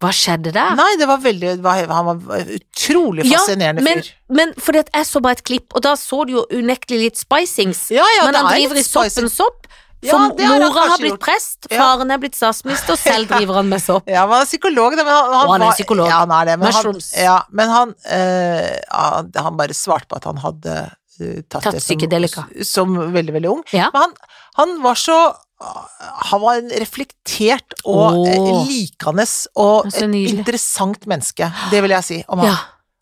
S1: Hva skjedde der?
S2: Nei, det var veldig det var- Han var utrolig
S1: Ja,
S2: fascinerende
S1: men,
S2: fyr.
S1: men fordi at jeg så bare et klipp, og da så du jo unektelig litt spicings.
S2: Ja, ja,
S1: men
S2: det
S1: han
S2: er
S1: driver i
S2: litt spicy.
S1: soppens sopp.
S2: Ja,
S1: For
S2: det har han
S1: mora har
S2: kanskje
S1: blitt
S2: gjort.
S1: prest,
S2: Ja.
S1: faren er blitt statsminister, og selv driver han med sopp.
S2: Ja, han var psykolog, da, men han, han
S1: Og han er
S2: var-
S1: psykolog.
S2: Ja, han er det, men han,
S1: Mushrooms.
S2: ja, men han, eh, han, han bare svarte på at han hadde eh, tatt,
S1: Tatt
S2: det som,
S1: psykedelika.
S2: som veldig, veldig ung.
S1: Ja.
S2: Men han, han var så Han var en reflektert og
S1: Åh.
S2: eh, likende og
S1: Så
S2: et
S1: nydelig.
S2: interessant menneske. Det vil jeg si om han.
S1: Ja.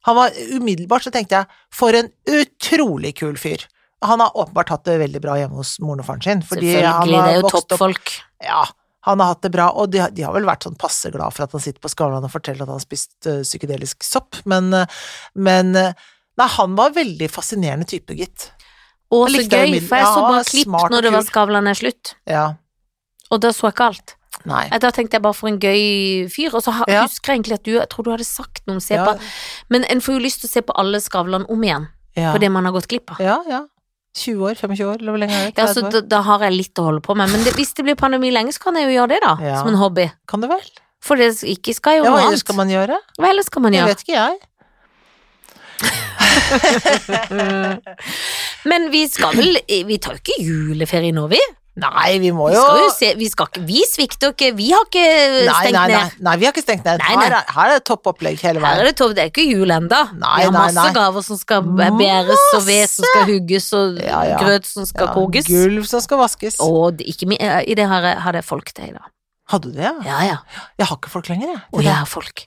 S2: Han var umiddelbart, så tenkte jeg, for en utrolig kul fyr. Han har åpenbart hatt det veldig bra hjemme hos moren og faren sin, fordi han
S1: Selvfølgelig, det er
S2: har
S1: jo
S2: vokst opp
S1: toppfolk.
S2: ja, han har hatt det bra, og de, har- de har vel vært sånn passe glad for at han sitter på Skavlan og forteller at han har spist eh, psykedelisk sopp, men, eh, men eh, Nei, han var en veldig fascinerende type, gitt.
S1: Og
S2: Jeg
S1: så
S2: likte
S1: gøy,
S2: Emil.
S1: for jeg
S2: Ja,
S1: så
S2: han
S1: bare
S2: er
S1: klipp
S2: smart og
S1: når det var
S2: kul.
S1: Skavlan er slutt,
S2: Ja.
S1: og da så jeg ikke alt.
S2: Nei.
S1: Eh, Da tenkte jeg bare for en gøy fyr, og så ha,
S2: Ja.
S1: husker jeg egentlig at du, jeg tror du hadde sagt noe om se
S2: Ja,
S1: på, men en får jo lyst til å se på alle Skavlan om igjen,
S2: ja.
S1: på det man har gått glipp av.
S2: ja, ja. 20 år, 25 år, eller hvor lenge er det?
S1: Ja, så
S2: 30 år?
S1: altså, da, da har jeg litt å holde på med, men det, hvis det blir pandemi lenge, så kan jeg jo gjøre det, da.
S2: Ja.
S1: Som en hobby.
S2: Kan det vel?
S1: For det ikke skal jo
S2: Ja, hva
S1: noe
S2: ellers
S1: annet.
S2: skal man gjøre?
S1: Hva ellers skal man
S2: Det
S1: gjøre?
S2: vet ikke jeg.
S1: Men vi skal vel eh, Vi tar jo ikke juleferie nå, vi.
S2: Nei, vi må
S1: Vi
S2: jo
S1: skal jo se Vi, skal ikke, vi svikter ikke. Vi har ikke eh,
S2: nei,
S1: stengt
S2: nei, nei,
S1: ned.
S2: nei, vi har ikke stengt ned.
S1: Nei, nei.
S2: Her, er, her er det toppopplegg hele
S1: Her
S2: veien.
S1: er det tov, det er ikke jul ennå. Vi
S2: Nei, nei,
S1: har masse
S2: nei.
S1: gaver som skal bæres, og ved som skal hugges, og
S2: Ja, ja.
S1: grøt som skal
S2: Ja,
S1: koges.
S2: Gulv som skal vaskes.
S1: Og det- ikke, mi- eh, i det har jeg, har jeg folk til i dag.
S2: Hadde du det? Ja?
S1: Ja, ja.
S2: Jeg har ikke folk lenger, jeg.
S1: Og jeg har folk.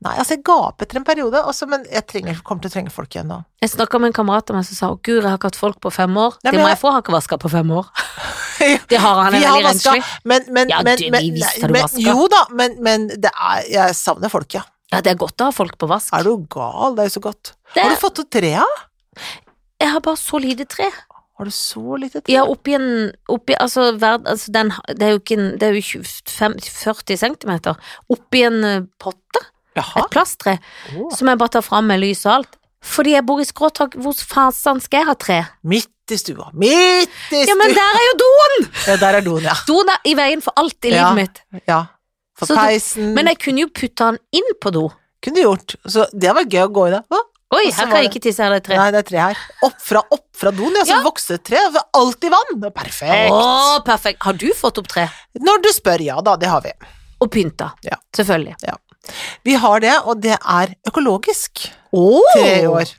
S2: Nei, altså jeg gaper etter en periode, også, men jeg trenger, kommer til å trenge folk igjen da.
S1: Jeg snakka med en kamerat av meg som sa å gud, jeg har ikke hatt folk på fem år.
S2: Nei,
S1: det
S2: men
S1: må
S2: jeg-
S1: jeg få, har ikke vaska på fem år. Det har han, han
S2: Vi
S1: er
S2: har
S1: veldig
S2: vaska,
S1: renslig.
S2: Men, men,
S1: Ja,
S2: men,
S1: det- vi
S2: men,
S1: visste du
S2: men
S1: vaska.
S2: Jo da, men, men det er, jeg savner folk, ja.
S1: Ja, det er godt å ha folk på vask.
S2: Er du gal? Det er jo så godt.
S1: Det-
S2: Har du fått ut trea?
S1: Jeg har bare så lite tre.
S2: Har du så lite tre?
S1: Ja, oppi en oppi, altså, verd, altså den, Det er jo ikke en Det er jo 25-40 centimeter. Oppi en eh, potte.
S2: Jaha.
S1: Et plasttre.
S2: Å.
S1: Som jeg bare tar fram med lys og alt. Fordi jeg bor i skråtak. Hvor fasen skal jeg ha tre?
S2: Midt i stua. Midt i stua!
S1: Ja, men der er jo doen!
S2: Ja, der er doen, ja.
S1: Doen er i veien for alt i livet
S2: Ja.
S1: mitt.
S2: ja. For
S1: Så du-
S2: peisen
S1: Men jeg kunne jo putta den inn på do.
S2: kunne du gjort. Så det var gøy å gå i det. Hva?
S1: Oi,
S2: Og så
S1: her
S2: var
S1: kan jeg
S2: det-
S1: ikke tisse, her er det tre.
S2: Nei, det er tre her. Opp fra, opp fra doen, ja. Så
S1: Ja.
S2: vokser et tre. Det er Alltid vann. Det er Perfekt.
S1: Å, perfekt. Har du fått opp tre?
S2: Når du spør, ja da, det har vi.
S1: Og pynta.
S2: Ja.
S1: Selvfølgelig.
S2: Vi har det, og det er økologisk.
S1: Oh!
S2: Tre år.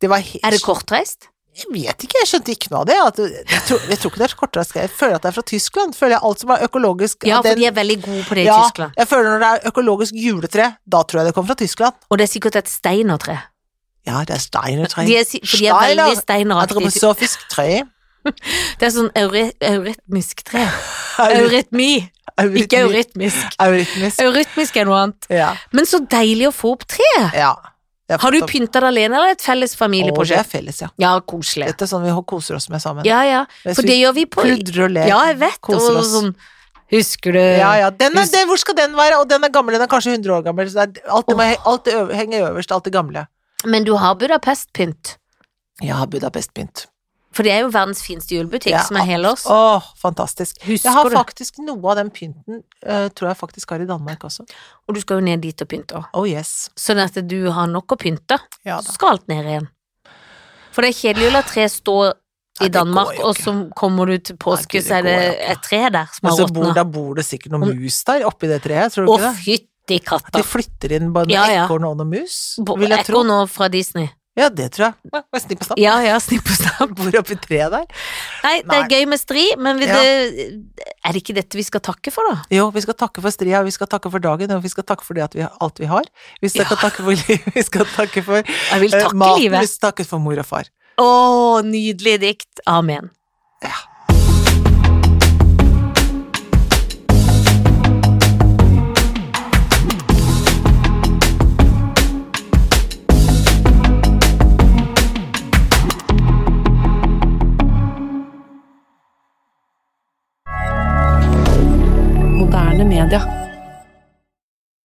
S2: Det var helt
S1: Er det kortreist?
S2: Jeg vet ikke, jeg skjønte ikke noe av det. At, jeg, tror, jeg tror ikke det er kortere skrevet. Jeg føler at det er fra Tyskland. Føler jeg alt som er økologisk
S1: Ja,
S2: at
S1: for
S2: den-
S1: de er veldig gode på det i
S2: Ja,
S1: Tyskland.
S2: Jeg føler når det er økologisk juletre, da tror jeg det kommer fra Tyskland.
S1: Og det er sikkert et steinertre.
S2: Ja, det er steinertre.
S1: De er, si- for de er veldig
S2: Steiner.
S1: steineraktige.
S2: Antroposofisk tre.
S1: Det er sånn eure, eurytmisk tre.
S2: Eurytmi-
S1: Eurytmi, ikke
S2: Eurytmi.
S1: eurytmisk.
S2: Eurytmisk.
S1: Eurytmisk er noe annet.
S2: Ja.
S1: Men så deilig å få opp tre!
S2: ja. Jeg
S1: Har du
S2: fått opp-
S1: pynta det alene, eller et felles
S2: Å, Det
S1: familieprosjekt?
S2: er felles, ja.
S1: Ja, koselig.
S2: Dette er sånn vi koser oss med sammen.
S1: Ja, ja.
S2: Mens
S1: For
S2: vi
S1: det gjør vi på
S2: Pludrer og ler.
S1: Ja, jeg vet.
S2: Koser
S1: Og
S2: oss.
S1: sånn Husker du
S2: Ja, ja. Den er,
S1: Hus-
S2: den, hvor skal den være? Og den er gammel, den er kanskje 100 år gammel. Så det er, alt, det må, he- alt det øver, henger øverst, alt det gamle.
S1: Men du har Budapest-pynt.
S2: Jeg har Budapest-pynt.
S1: For det er jo verdens fineste julebutikk
S2: Ja, ah,
S1: som er helårs.
S2: Åh, fantastisk.
S1: Husker
S2: Jeg har
S1: du?
S2: faktisk noe av den pynten, eh, tror jeg faktisk har i Danmark også.
S1: Og du skal jo ned dit og pynte òg.
S2: Oh yes.
S1: Sånn at du har nok å pynte.
S2: Ja
S1: Så skal alt ned igjen. For det er kjedelig å la tre stå
S2: Ja,
S1: i
S2: det går
S1: Danmark,
S2: jo
S1: og
S2: ikke.
S1: så kommer du til påske,
S2: Nei, det
S1: så er det
S2: går jo ikke.
S1: et tre der som har
S2: Altså, bor,
S1: råtna.
S2: da bor det sikkert noen mus der, oppi det treet, tror du
S1: Å,
S2: ikke det?
S1: fytti
S2: At de
S1: katta.
S2: flytter inn både
S1: Ja, ja.
S2: ekorn og noen mus, vil jeg tro.
S1: Ekorn nå fra Disney.
S2: Ja, det tror jeg. Ja, bare snipp og snapp.
S1: Ja, ja, snipp og snapp.
S2: Bor oppi treet der.
S1: Nei, det er
S2: Nei.
S1: gøy med stri, men vi,
S2: Ja.
S1: det, er det ikke dette vi skal takke for, da?
S2: Jo, vi skal takke for stria, vi skal takke for dagen, og vi skal takke for det at vi, alt vi har. Vi skal
S1: Ja.
S2: takke for livet, vi skal takke for
S1: Jeg vil
S2: eh,
S1: takke
S2: maten, vi
S1: livet.
S2: skal takke for mor og far.
S1: Å, nydelig dikt. Amen.
S2: Ja.
S3: Moderne media.